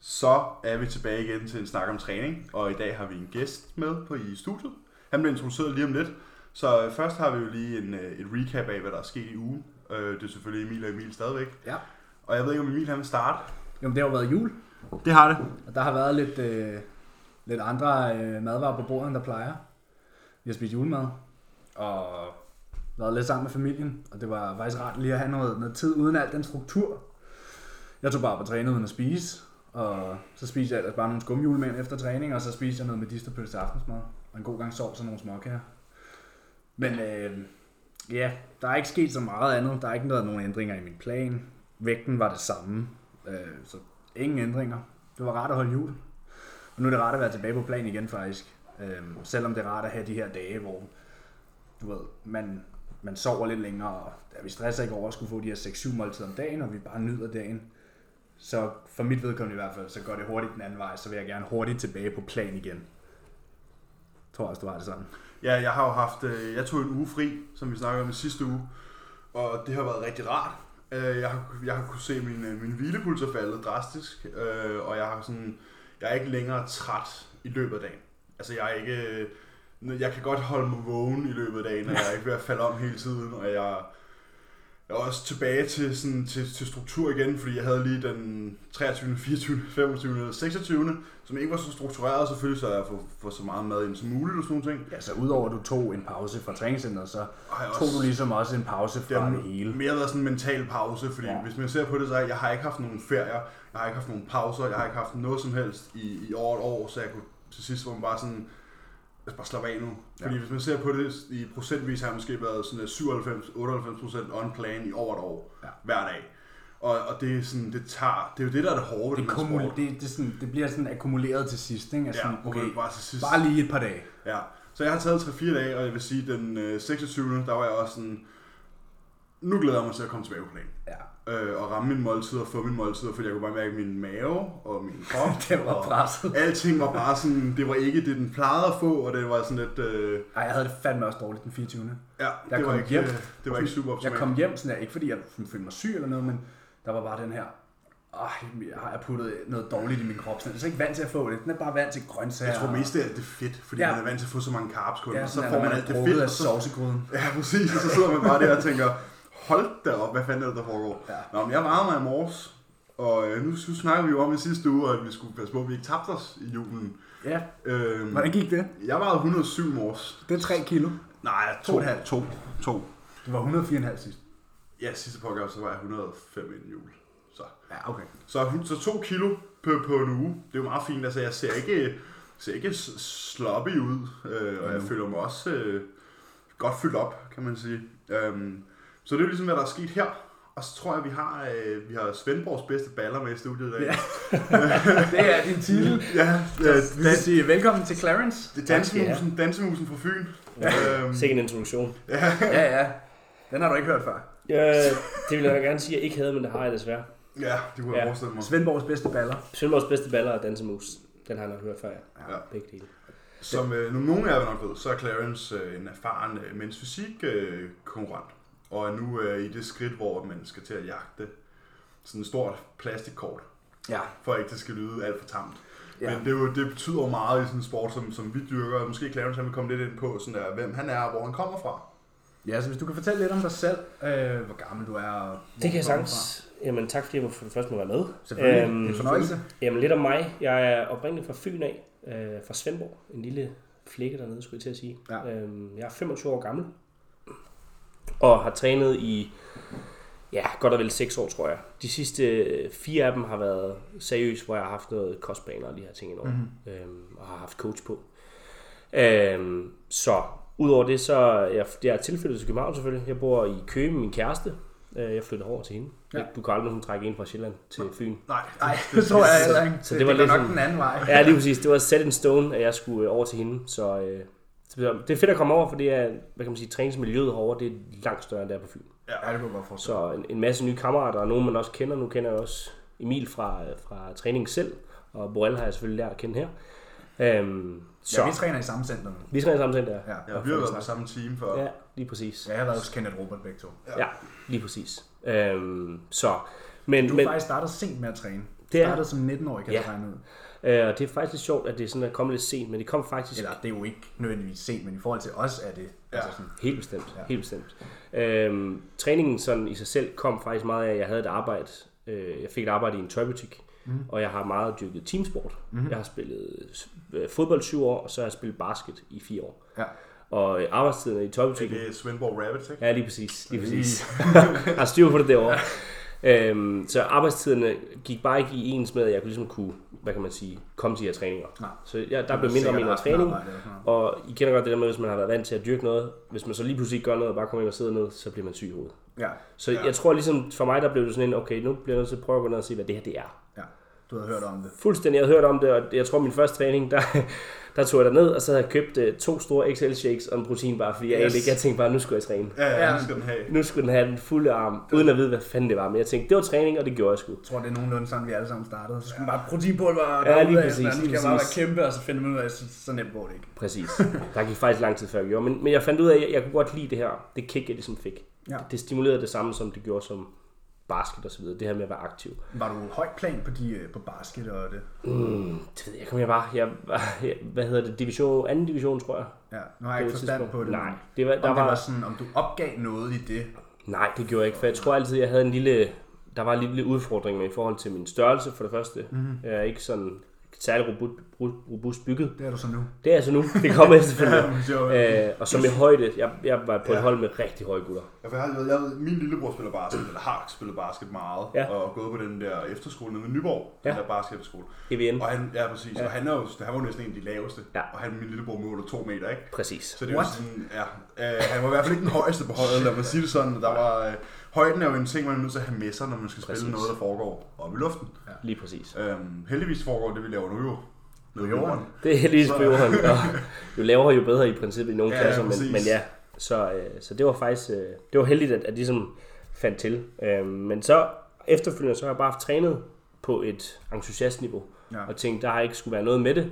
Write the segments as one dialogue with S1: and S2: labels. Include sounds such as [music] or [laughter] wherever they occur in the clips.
S1: Så er vi tilbage igen til en snak om træning, og i dag har vi en gæst med på i studiet. Han bliver introduceret lige om lidt. Så øh, først har vi jo lige en, øh, et recap af, hvad der er sket i ugen. Øh, Det er selvfølgelig Emil og Emil stadigvæk.
S2: Ja.
S1: Og jeg ved ikke, om Emil han vil starte.
S2: Jamen, det har jo været jul,
S1: Det har det.
S2: og der har været lidt, øh, lidt andre øh, madvarer på bordet, end der plejer. Vi har spist julemad, og været lidt sammen med familien, og det var faktisk rart lige at have noget, noget tid uden al den struktur. Jeg tog bare på træne uden at spise, og så spiste jeg ellers bare nogle skumjulemænd efter træning, og så spiste jeg noget med distorpølse til aftensmad, og en god gang sovs og nogle småkager. Men øh, ja, der er ikke sket så meget andet. Der er ikke været nogen ændringer i min plan. Vægten var det samme, øh, så ingen ændringer. Det var rart at holde jul. Og nu er det rart at være tilbage på plan igen faktisk. Øh, selvom det er rart at have de her dage, hvor du ved, man, man sover lidt længere, og ja, vi stresser ikke over at skulle få de her 6-7 måltider om dagen, og vi bare nyder dagen. Så for mit vedkommende i hvert fald, så går det hurtigt den anden vej, så vil jeg gerne hurtigt tilbage på plan igen. Jeg tror også, du har det sådan.
S1: Ja, jeg har jo haft, øh, jeg tog en uge fri, som vi snakkede om i sidste uge, og det har været rigtig rart. Øh, Jeg har, jeg har kunnet se, min, øh, min hvilepuls er faldet drastisk, øh, og jeg har sådan, jeg er ikke længere træt i løbet af dagen. Altså jeg er ikke, øh, jeg kan godt holde mig vågen i løbet af dagen, og jeg er ikke ved at falde om hele tiden, og jeg, jeg er også tilbage til, sådan, til, til struktur igen, fordi jeg havde lige den 23., 24., 25. og 26., som ikke var så struktureret selvfølgelig, så jeg får, får så meget mad ind som muligt og sådan nogle ting.
S2: Ja, så udover at du tog en pause fra træningscenteret, så
S1: Ej, også-
S2: tog du ligesom også en pause
S1: Det
S2: fra
S1: har
S2: det, hele.
S1: mere været sådan en mental pause, fordi ja.
S2: Ja.
S1: hvis man ser på det, så har jeg har ikke haft nogen ferier, jeg har ikke haft nogen pauser, jeg har ikke haft noget som helst i, i over et år, så jeg kunne til sidst var man bare sådan, altså bare slappe af nu. Fordi hvis man ser på det i procentvis, har jeg måske været øh, sådan 97-98% on plan i over et år,
S2: Ja.
S1: hver dag. Og, og det er sådan, det tager, det er jo det, der er det hårde ved
S2: Det,
S1: den her
S2: kumul-
S1: sport.
S2: det, det, sådan, det bliver sådan akkumuleret til sidst, ikke? Altså,
S1: Ja,
S2: sådan, okay,
S1: bare til sidst.
S2: bare lige et par dage.
S1: Ja, så jeg har taget 3-4 dage, og jeg vil sige, den øh, 26. der var jeg også sådan, nu glæder jeg mig til at komme tilbage på planen.
S2: Ja,
S1: øh, og ramme min måltid og få min måltid, fordi jeg kunne bare mærke at min mave og min
S2: [laughs]
S1: krop.
S2: Den var
S1: og
S2: presset.
S1: Alting var bare sådan, det var ikke det, den plejede at få, og det var sådan lidt, øh,
S2: Ej, jeg havde det fandme også dårligt den 24.
S1: ja,
S2: Jeg
S1: det var,
S2: kom
S1: ikke,
S2: hjem.
S1: øh, det var ikke super
S2: Jeg
S1: optimalt.
S2: kom hjem sådan her, ikke fordi jeg følte mig syg eller noget, men der var bare den her, Ej, har jeg puttet noget dårligt i min krop? Sådan, jeg er slet ikke vant til at få det. Den er bare vant til grøntsager.
S1: Jeg tror mest, det er alt det fedt, fordi
S2: Ja.
S1: man er vant til at få så mange carbs kun,
S2: ja,
S1: og så
S2: sådan,
S1: får
S2: at
S1: man
S2: er
S1: alt det
S2: drukket
S1: fedt,
S2: af
S1: og så,
S2: sovsegruden.
S1: ja, præcis, og så sidder man bare der og tænker, hold da op, hvad fanden er det, der foregår?
S2: Ja.
S1: Nå, men jeg varmer mig i morges, og øh, nu, nu snakker vi jo om i sidste uge, at vi skulle passe på, at vi ikke tabte os i julen.
S2: Ja,
S1: Øhm,
S2: hvordan gik det?
S1: jeg vejede 107 i morges,
S2: Det er 3 kilo.
S1: Nej,
S2: To
S1: to,
S2: og et halvt.
S1: to, to.
S2: Det var 104,5 sidst.
S1: Ja, sidste podcast, så var jeg 105 inden jul. Så,
S2: Ja, okay.
S1: så, hun- så to kilo på, på en uge, det er jo meget fint. Altså, jeg ser ikke, ser ikke s- sloppy ud, øh, og jeg føler mig også øh, godt fyldt op, kan man sige. Øhm, så det er jo ligesom, hvad der er sket her. Og så tror jeg, vi har, øh, vi har Svendborgs bedste baller med i studiet i dag.
S2: Ja. Det er din titel.
S1: ja, ja
S2: Vi
S1: dan,
S2: vil sige velkommen til Clarence.
S1: det er dansemusen, dansemusen fra Fyn. Øhm,
S3: Sikke en introduktion.
S2: Ja, ja. Den har du ikke hørt før.
S3: Ja, det vil jeg gerne sige, at jeg ikke havde, men det har jeg desværre.
S1: ja, det kunne jeg
S3: Ja.
S1: forestille mig.
S2: Svendborgs bedste baller.
S3: Svendborgs bedste baller er dansemus. Den har jeg nok hørt før, ja.
S1: Ja.
S3: Begge dele.
S1: Som øh, nu nogle af jer nok ved, så er Clarence øh, en erfaren øh, mens fysik øh, konkurrent, og er nu øh, i det skridt, hvor man skal til at jagte sådan et stort plastikkort,
S2: Ja.
S1: for at ikke det skal lyde alt for tamt. Ja.
S2: Ja.
S1: Men det, er jo, det betyder jo meget i sådan en sport, som, som vi dyrker, og måske Clarence han vil komme lidt ind på, sådan der, hvem han er og hvor han kommer fra.
S2: Ja, så hvis du kan fortælle lidt om dig selv, øh, hvor gammel du er og hvor
S3: Det kan
S2: du kommer
S3: jeg sagtens. Jamen tak, fordi jeg må- for det første må være med.
S2: fra. Selvfølgelig. Øhm, en
S3: Øhm,
S2: fornøjelse.
S3: jamen lidt om mig. Jeg er oprindeligt fra Fyn af, øh, fra Svendborg. En lille flække dernede, skulle jeg til at sige.
S2: Ja.
S3: Øhm, jeg er 25 år gammel, og har trænet i ja, godt og vel 6 år, tror jeg. De sidste øh, fire af dem har været seriøst, hvor jeg har haft noget kostbaner og de her ting indover, mm-hmm. øhm, og har haft coach på. Øhm, så udover det, så er jeg, jeg er tilflyttet til København selvfølgelig. Jeg bor i Køge med min kæreste. Øh, jeg flytter over til hende.
S2: Ja.
S3: Ja. Du kan aldrig hun trække en fra Sjælland til Fyn.
S1: Nej,
S2: Nej, [laughs] det tror jeg heller ikke.
S3: så det var
S2: det
S3: lidt
S2: nok
S3: sådan-
S2: den anden vej.
S3: Ja, lige præcis. Det var set in stone, at jeg skulle øh, over til hende. Så øh, så det er fedt at komme over, for det er, hvad kan man sige, træningsmiljøet herovre, det er langt større end det er på Fyn.
S2: Ja, det kunne jeg godt forstå.
S3: Så en, en masse nye kammerater, og nogen man også kender. Nu kender jeg også Emil fra, øh, fra træning selv, og Borrell har jeg selvfølgelig lært at kende her. Øhm, så
S2: Ja, vi træner i samme center nu.
S3: vi træner sammen selv der.
S2: Ja.
S1: Ja, vi har været på samme team før.
S3: ja, lige præcis.
S2: Jeg har været hos Kenneth Robert begge to.
S3: Ja, lige præcis. Øhm, så, men,
S2: Du
S3: men
S2: er faktisk startet sent med at træne.
S3: Det er,
S2: Startede som 19-årig, kan
S3: Ja.
S2: jeg regne ud.
S3: øh, og det er faktisk lidt sjovt, at det sådan er kommet lidt sent, men det kom faktisk
S2: Eller det er jo ikke nødvendigvis sent, men i forhold til os er det.
S1: Ja.
S2: Altså sådan,
S3: Helt bestemt, ja.
S2: Ja.
S3: helt bestemt. Øhm, træningen sådan i sig selv kom faktisk meget af, at jeg havde et arbejde. Øh, jeg fik et arbejde i en tøjbutik, mm. og jeg har meget dyrket teamsport. Mm. Jeg har spillet øh, fodbold syv år, og så har jeg spillet basket i fire år.
S2: ja.
S3: Og øh, arbejdstiden i tøjbutikken...
S1: Det er Svendborg Rabbits, ikke?
S3: Ja, lige præcis. Lige præcis. jeg [laughs] har styr på det derovre. Øhm, så arbejdstiderne gik bare ikke i ens med, at jeg ligesom kunne, hvad kan man sige, komme til de her træninger.
S2: Nej.
S3: Så jeg, der blev mindre og
S2: Sikkert
S3: mindre
S2: aftenarbejde
S3: træning,
S2: og sådan noget.
S3: og I kender godt det der med, hvis man har været vant til at dyrke noget, hvis man så lige pludselig ikke gør noget og bare kommer ind og sidder ned, så bliver man syg i hovedet.
S2: Ja,
S3: Så ja. jeg tror ligesom, for mig der blev det sådan en, okay, nu bliver jeg nødt til at prøve at gå ned og se, hvad det her det er.
S2: ja. Du havde hørt om det.
S3: Fuldstændig, jeg havde hørt om det, og jeg tror min første træning, der, [laughs] der tog jeg ned og så havde jeg købt øh, to store XL shakes og en proteinbar, fordi jeg,
S1: Yes.
S3: yes. ikke, jeg tænkte bare, nu skulle jeg træne.
S1: Ja, ja,
S2: Ja.
S1: det skal den have.
S3: Nu skulle den have den fulde arm, uden at vide, hvad fanden det var. Men jeg tænkte, det var træning, og det gjorde jeg sgu.
S2: Jeg tror, det er nogenlunde sådan, vi alle sammen startede. Så skulle man bare proteinpulver og
S3: Ja, lige
S2: derudad,
S3: præcis,
S2: sådan, Nu skal
S3: lige
S2: jeg bare være
S3: præcis.
S2: kæmpe, og så finder man ud af, at så- så nemt går det ikke.
S3: Præcis. Der gik faktisk lang tid før jeg gjorde. Men, men jeg fandt ud af, at jeg, jeg kunne godt lide det her. Det kick, jeg ligesom fik.
S2: Ja.
S3: Det, det stimulerede det samme, som det gjorde som basket og så videre. Det her med at være aktiv.
S2: Var du høj plan på, de, øh, på basket og det?
S3: Mm, det ved jeg, kom jeg bare. Jeg, var- jeg, hvad hedder det? Division, anden division, tror jeg.
S2: Ja, nu har jeg ikke
S3: var et
S2: forstand
S3: tidspunkt.
S2: på det.
S3: Nej,
S2: men
S3: det var,
S2: Om,
S3: der
S2: det
S3: var,
S2: var sådan, om du opgav noget i det.
S3: nej, det gjorde jeg ikke. For jeg tror altid, jeg havde en lille... Der var en lille udfordring med i forhold til min størrelse, for det første. Mm.
S2: Mhm.
S3: Jeg er ikke sådan særlig robust, robust bygget.
S2: Det er du så nu.
S3: Det er altså nu. Det
S2: [laughs]
S3: kommer efterfølgende.
S1: Ja, men sjovt.
S3: Øh, og som i højde, jeg, jeg var på et hold med rigtig høje gutter.
S1: Ja, for jeg, har- jeg, jeg, min lillebror spiller basket, eller har spillet basket meget,
S3: Ja.
S1: ja. og gået på den der efterskole nede i Nyborg,
S3: Ja.
S1: ja. den der basketskole.
S3: EVN.
S1: Og han, ja, præcis. Ja. Og han, er jo, han var jo næsten en af de laveste,
S3: Ja.
S1: og han min lillebror måler to meter, ikke?
S3: Præcis.
S1: Så det er jo
S2: What?
S1: sådan, ja, øh, han var i hvert fald ikke den højeste på holdet, lad mig sige det sådan. Der var, øh, højden er jo en ting, man er nødt til at have med sig, når man skal spille
S3: Præcis.
S1: noget, der foregår oppe i luften.
S3: Lige præcis.
S1: Øhm, heldigvis foregår det, vi laver nu jo. Nede på
S2: jorden.
S3: Det er lige
S1: Så-
S3: på jorden. Og jo lavere, jo bedre i princippet i nogle
S1: Ja,
S3: klasser.
S1: ja,
S3: Men,
S1: præcis.
S3: men ja, så, øh, så det var faktisk øh, det var heldigt, at, at de ligesom fandt til. Øh, men så efterfølgende, så har jeg bare haft trænet på et entusiastniveau.
S2: Ja.
S3: Og tænkte, der har ikke skulle være noget med det. Øh,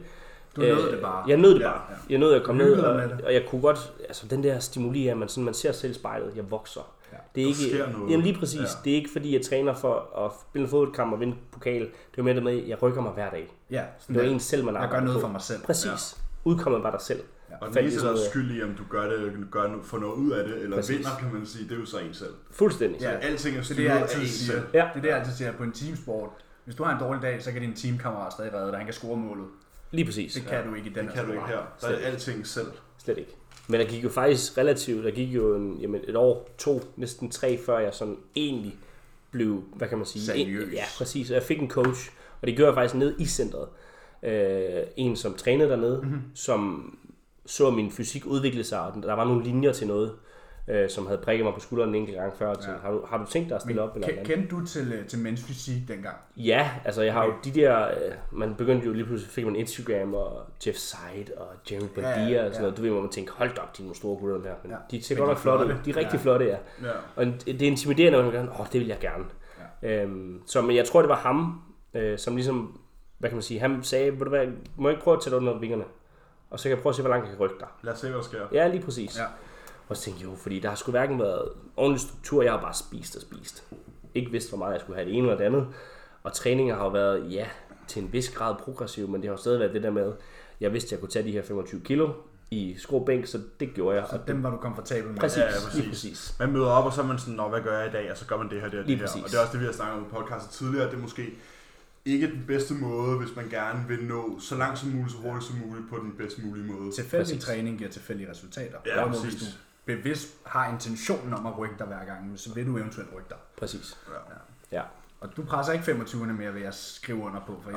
S2: Du nød det bare.
S3: Jeg nød det
S1: Ja,
S3: bare. Jeg nød at komme
S2: Du
S3: ned,
S2: hyggede dig med
S3: og,
S2: det.
S3: og, jeg kunne godt, altså den der stimuli, at man, sådan, man ser selv i spejlet, jeg vokser. Ja, det er
S1: der
S3: ikke,
S1: sker noget.
S3: Jamen lige præcis, ja.
S1: Ja.
S3: det er ikke fordi, jeg træner for at spille en fodboldkamp og vinde en pokal. Det er jo mere det med, at jeg rykker mig hver dag.
S2: Ja,
S3: Det er
S2: der-
S3: jo en selv, man
S2: Jeg gør
S3: arbejder
S2: noget
S3: på.
S2: for mig selv.
S3: Præcis. Ja. Udkommet var dig selv. Ja.
S1: Og den
S3: Fandt
S1: eneste,
S3: vi så
S1: der
S3: ud
S1: er
S3: af.
S1: skyld i, om du gør det, gør no- får noget ud af det, eller
S3: Præcis.
S1: Præcis. vinder, kan man sige, det er jo så en selv.
S3: Fuldstændig.
S1: Ja.
S2: Ja.
S1: Alting er
S2: Det er
S1: styret
S2: det, jeg
S1: af
S2: altid
S1: en
S2: siger.
S1: selv.
S3: Ja.
S2: Det er det, jeg altid siger på en teamsport. Hvis du har en dårlig dag, så kan din teamkammerat stadig redde dig. Han kan score målet.
S3: Lige præcis.
S2: Det kan du ikke i den
S1: Det kan du ikke her. Der er alting selv.
S3: Slet ikke. Men der gik jo faktisk relativt, der gik jo en, jamen et år, to, næsten tre, før jeg sådan egentlig blev, hvad kan man sige?
S2: Seriøs.
S3: En, ja, præcis. Og jeg fik en coach, og det gjorde jeg faktisk ned i centret. Øh, en, som trænede dernede, mm-hmm. som så min fysik udvikle sig, og der var nogle linjer til noget, øh, som havde prikket mig på skulderen en enkelt gang før. Og tænkte, har, du, har du tænkt dig at stille op? Eller
S2: Ke-
S3: hvordan?
S2: kendte du til, øh, til mænds fysik dengang?
S3: Ja, altså jeg har jo de der, øh, man begyndte jo lige pludselig, fik man Instagram og Jeff Seid og Jeremy
S2: ja,
S3: Badia ja, og sådan
S2: ja.
S3: noget. Du ved, hvor man tænker, hold da op, de er nogle store gutter dem her. Men ja.
S2: Ja.
S3: de ser
S2: Men
S3: godt
S2: de
S3: nok
S2: er
S3: flotte ud.
S2: flotte.
S3: De er rigtig ja.
S2: Ja.
S3: flotte, ja.
S1: Ja.
S3: Og det det er intimiderende, når man gerne, åh, det vil jeg gerne. Ja. Øhm, så men jeg tror, det var ham, øh, som ligesom, hvad kan man sige, han sagde, ved du hvad, må jeg ikke prøve at tage dig under vingerne? Og så kan jeg prøve at se, hvor langt jeg kan rykke dig.
S1: Lad os se, hvad der sker.
S3: Ja, lige præcis. Ja.
S2: Ja.
S3: Og så tænkte jeg jo, fordi der har sgu hverken været ordentlig struktur, jeg har bare spist og spist. Ikke vidst, hvor meget jeg skulle have det ene eller det andet. Og træninger har jo været, ja, til en vis grad progressiv, men det har jo stadig været det der med, jeg vidste, jeg kunne tage de her 25 kilo i skråbænk, så det gjorde jeg. Og
S2: Så dem var du komfortabel med?
S3: præcis,
S1: Ja, ja, præcis.
S3: lige præcis.
S1: Man møder op, og så er man sådan, Nå, hvad gør jeg i dag? Og så gør man det her, det her,
S3: Lige
S1: det her.
S3: præcis.
S1: Og det er også det, vi har snakket om i podcastet tidligere. Det er måske ikke den bedste måde, hvis man gerne vil nå så langt som muligt, så hurtigt som muligt, på den bedst mulige måde.
S2: Tilfældig
S3: Præcis.
S2: præcis. træning giver tilfældige resultater.
S1: Ja,
S2: Hvorimod,
S1: præcis.
S2: Hvis du bevidst har intentionen om at rykke dig hver gang, så vil du eventuelt rykke dig.
S3: Præcis.
S1: Ja.
S3: Ja.
S2: Og du presser ikke 25'erne mere, vil jeg skrive under på, for I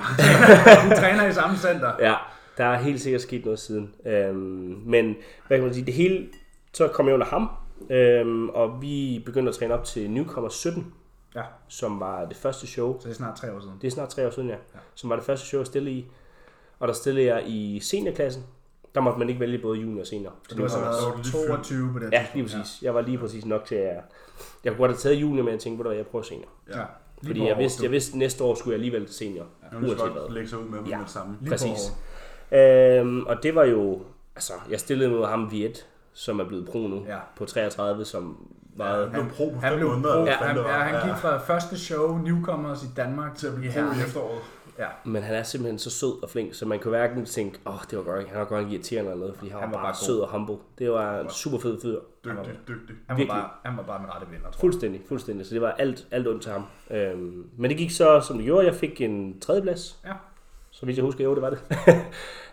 S2: I træner i samme center.
S3: Ja, der er helt sikkert sket noget siden. Øhm, men hvad kan man sige, det hele, så kom jeg under ham, øhm, og vi begyndte at træne op til Newcomer 17,
S2: Ja,
S3: som var det første show.
S2: så det er snart tre år siden.
S3: Det er snart tre år siden, ja. Som var det første show, jeg stillede i. Og der stillede jeg i seniorklassen. Der måtte man ikke vælge både junior og senior.
S2: Så du har så
S1: Så er du
S2: været
S1: lige fyldt.
S2: 22 på det
S3: Ja, lige præcis. Jeg var lige præcis nok til, at jeg, jeg kunne godt have taget junior, men jeg tænkte, "Ved du hvad, jeg prøver senior.
S2: Ja. ja. Lige
S3: Fordi
S2: på
S3: jeg
S2: hårdt,
S3: vidste,
S2: du.
S3: jeg vidste, at næste år skulle jeg alligevel til senior.
S1: Nu kan
S3: uanset
S1: man
S3: hvad.
S1: godt lægge sig ud med dem
S3: Ja.
S1: med det samme.
S2: Lige
S3: Præcis. Øhm, og det var jo, altså, jeg stillede mod ham Viet, som er blevet pro nu,
S2: Ja.
S3: på 33, som
S1: Ja, han blev pro på
S2: han
S1: fem
S2: blev
S1: måneder.
S2: pro,
S1: eller
S2: ja,
S1: hvad
S2: han,
S1: fanden det
S2: ja,
S1: var.
S2: han gik fra første show, Newcomers i Danmark,
S1: til at blive pro
S2: Herning.
S1: i efteråret.
S2: Ja,
S3: Men han er simpelthen så sød og flink, så man kan hverken tænke, åh, oh, det var godt, han var godt nok irriterende eller noget, fordi han, han var bare
S2: god.
S3: sød og humble. Det var en super fed fyr.
S1: Dygtig, dygtig.
S2: han var,
S3: Virkelig.
S2: bare, han var bare den rette vinder, tror jeg.
S3: Fuldstændig, fuldstændig. Så det var alt, alt ondt til ham. Øhm, men det gik så, som det gjorde. Jeg fik en tredjeplads.
S2: Ja.
S3: Så vidt jeg husker, jo, det [laughs] var det.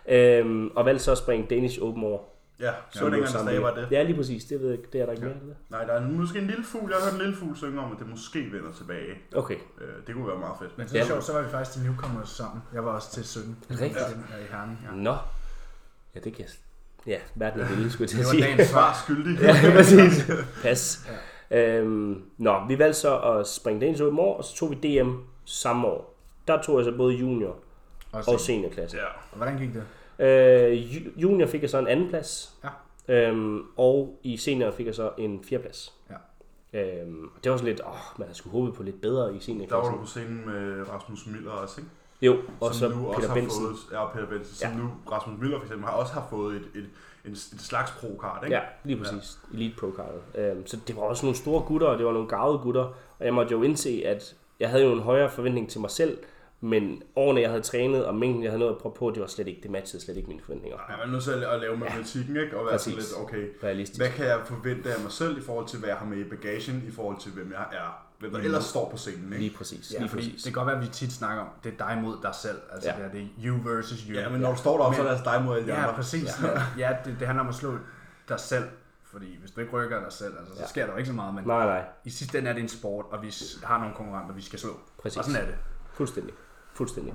S3: øhm, og valgte så at springe Danish Open over.
S1: Ja, så ja,
S3: det
S1: dengang, der stadig var det.
S3: Ja, lige præcis. Det, ved jeg, det er der ikke mere. eller?
S1: Nej, der er måske en lille fugl. Jeg har hørt en lille fugl synge om, at det måske vender tilbage.
S3: Okay.
S1: Øh, det kunne være meget fedt.
S2: Men så
S3: Ja.
S2: ja. sjovt, så var vi faktisk til Newcomers sammen. Jeg var også til 17.
S3: Rigtigt.
S2: Ja. I Herning, ja.
S3: Nå. Ja, det kan jeg... Ja, verden er vildt, skulle jeg til
S2: Det
S3: at
S2: var
S3: sige.
S2: dagens svar.
S1: Svar skyldig.
S3: [laughs] Ja, præcis. Pas. Øhm, nå, vi valgte så at springe Danish Open over, og så tog vi DM samme år. Der tog jeg så både junior og seniorklasse.
S1: ja.
S2: Og Hvordan gik det?
S3: Øh, ju- junior fik jeg så en anden plads.
S2: Ja.
S3: Øhm, og i senior fik jeg så en fjerdeplads.
S2: Ja.
S3: Øhm, og det var sådan lidt, åh, man havde sgu håbet på lidt bedre i
S1: Der var
S3: seniorklassen.
S1: du på scenen med Rasmus Miller også, ikke?
S3: Jo, og så
S1: som nu også
S3: Peter
S1: har
S3: Benson.
S1: fået, ja, og Peter Benson, som nu Rasmus Miller for eksempel, har også har fået et, et, et, et slags pro-card, ikke?
S3: Ja, lige præcis. Ja. Elite pro cardet. Øhm, så det var også nogle store gutter, og det var nogle gavede gutter. Og jeg måtte jo indse, at jeg havde jo en højere forventning til mig selv, men årene, jeg havde trænet, og mængden, jeg havde nået at prøve på, det var slet ikke, det matchede slet ikke mine forventninger.
S1: Ja, man er nødt til at, at lave matematikken, ikke? Og være sådan
S3: Præcis.
S1: lidt, okay,
S3: Realistisk.
S1: hvad kan jeg forvente af mig selv i forhold til, hvad jeg har med i bagagen, i forhold til, hvem jeg er, hvem der ellers står på scenen, ikke?
S3: Lige præcis.
S2: Ja,
S3: lige
S2: fordi
S3: præcis.
S2: det kan godt være, at vi tit snakker om, det er dig mod dig selv. Altså
S3: Ja.
S2: ja. det, er, det er you versus you.
S1: Ja, men når du står deroppe, så er det altså dig mod alle de
S2: Ja,
S1: andre.
S2: præcis. Ja, ja det, det, handler om at slå dig selv. Fordi hvis du ikke rykker dig selv, altså, så
S3: Ja.
S2: sker der jo ikke så meget. Men
S3: Nej, nej.
S2: i sidste ende er det en sport, og vi s- har nogle konkurrenter, vi skal slå.
S3: Præcis.
S2: Og sådan er det.
S3: Fuldstændig. Fuldstændig.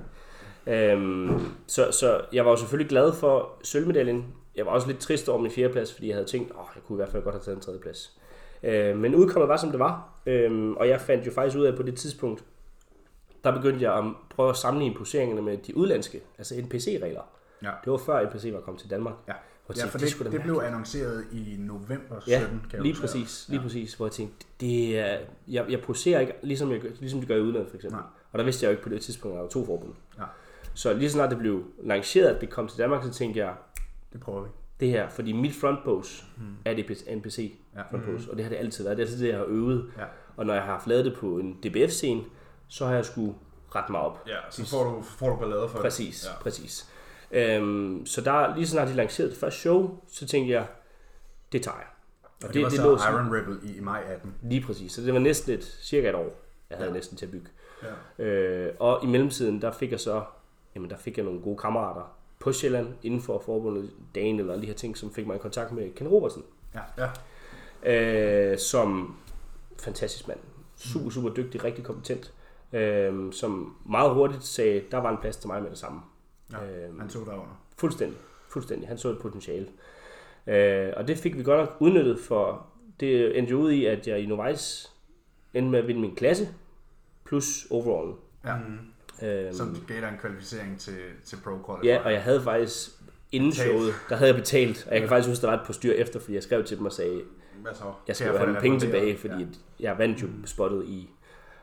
S3: Øhm, så, så jeg var jo selvfølgelig glad for sølvmedaljen. Jeg var også lidt trist over min fjerdeplads, fordi jeg havde tænkt, at jeg kunne i hvert fald godt have taget en tredjeplads. Øh, men udkommet var, som det var. Øhm, og jeg fandt jo faktisk ud af på det tidspunkt, der begyndte jeg at prøve at sammenligne poseringerne med de udlandske, altså NPC-regler.
S2: Ja.
S3: Det var før NPC var kommet til Danmark.
S2: Ja,
S3: Hvor jeg
S2: ja
S3: tænkte,
S2: for
S3: det
S2: det, det,
S3: skulle da
S2: det blev annonceret i november 17,
S3: Ja,
S2: kan jeg
S3: lige
S2: huske.
S3: præcis, lige præcis, hvor jeg tænkte, det er, jeg, jeg poserer ikke, ligesom, jeg, gør- ligesom de gør i udlandet for eksempel.
S2: Nej.
S3: Og der vidste jeg jo ikke på det tidspunkt, at der var to forbund.
S2: Ja.
S3: Så lige så snart det blev lanceret, at det kom til Danmark, så tænkte jeg,
S2: Det prøver vi.
S3: det her, fordi mit front pose er det NPC
S2: Hmm. Ja. Hmm.
S3: front pose, og det har det altid været. Det er altid det, jeg har øvet.
S2: Ja.
S3: Og når jeg har haft lavet det på en DBF-scene, så har jeg skulle rette mig op.
S1: Ja, så får du, får du ballade for
S3: Præcis,
S1: det.
S3: ja.
S1: Ja.
S3: præcis. Øhm, så der, lige så snart de lancerede det første show, så tænkte jeg, det tager jeg. Og,
S2: Og det, det var det, så
S3: lå sådan-
S2: Iron Rebel i, i maj 18.
S3: Lige præcis. Så det var næsten et, cirka et år, jeg havde ja. næsten til at bygge.
S1: Ja.
S3: Øh, og i mellemtiden, der fik jeg så, jamen der fik jeg nogle gode kammerater på Sjælland, inden for forbundet dagen eller alle de her ting, som fik mig i kontakt med Ken Robertsen,
S1: ja.
S3: øh, som fantastisk mand. Super, super dygtig, rigtig kompetent, øh, som meget hurtigt sagde, der var en plads til mig med det samme.
S2: Ja.
S3: Øh,
S2: Han tog derunder.
S3: Fuldstændig. Fuldstændig. Han så et potentiale. Øh, og det fik vi godt nok udnyttet for. Det endte jo ud i, at jeg i Novice endte med at vinde min klasse, plus overall.
S2: Ja.
S3: Øh,
S2: Som gav dig en kvalificering til, til Pro Qualifier.
S3: ja, og jeg havde faktisk inden
S2: Betalt.
S3: showet, der havde jeg betalt, og jeg kan faktisk huske, der var et postyr efter, fordi jeg skrev til dem og sagde,
S1: Hvad så?
S3: jeg skal
S2: Til
S3: jo
S2: at
S3: have
S2: få
S3: mine
S2: den
S3: penge tilbage,
S2: refunderet,
S3: fordi ja. jeg vandt jo spottet i...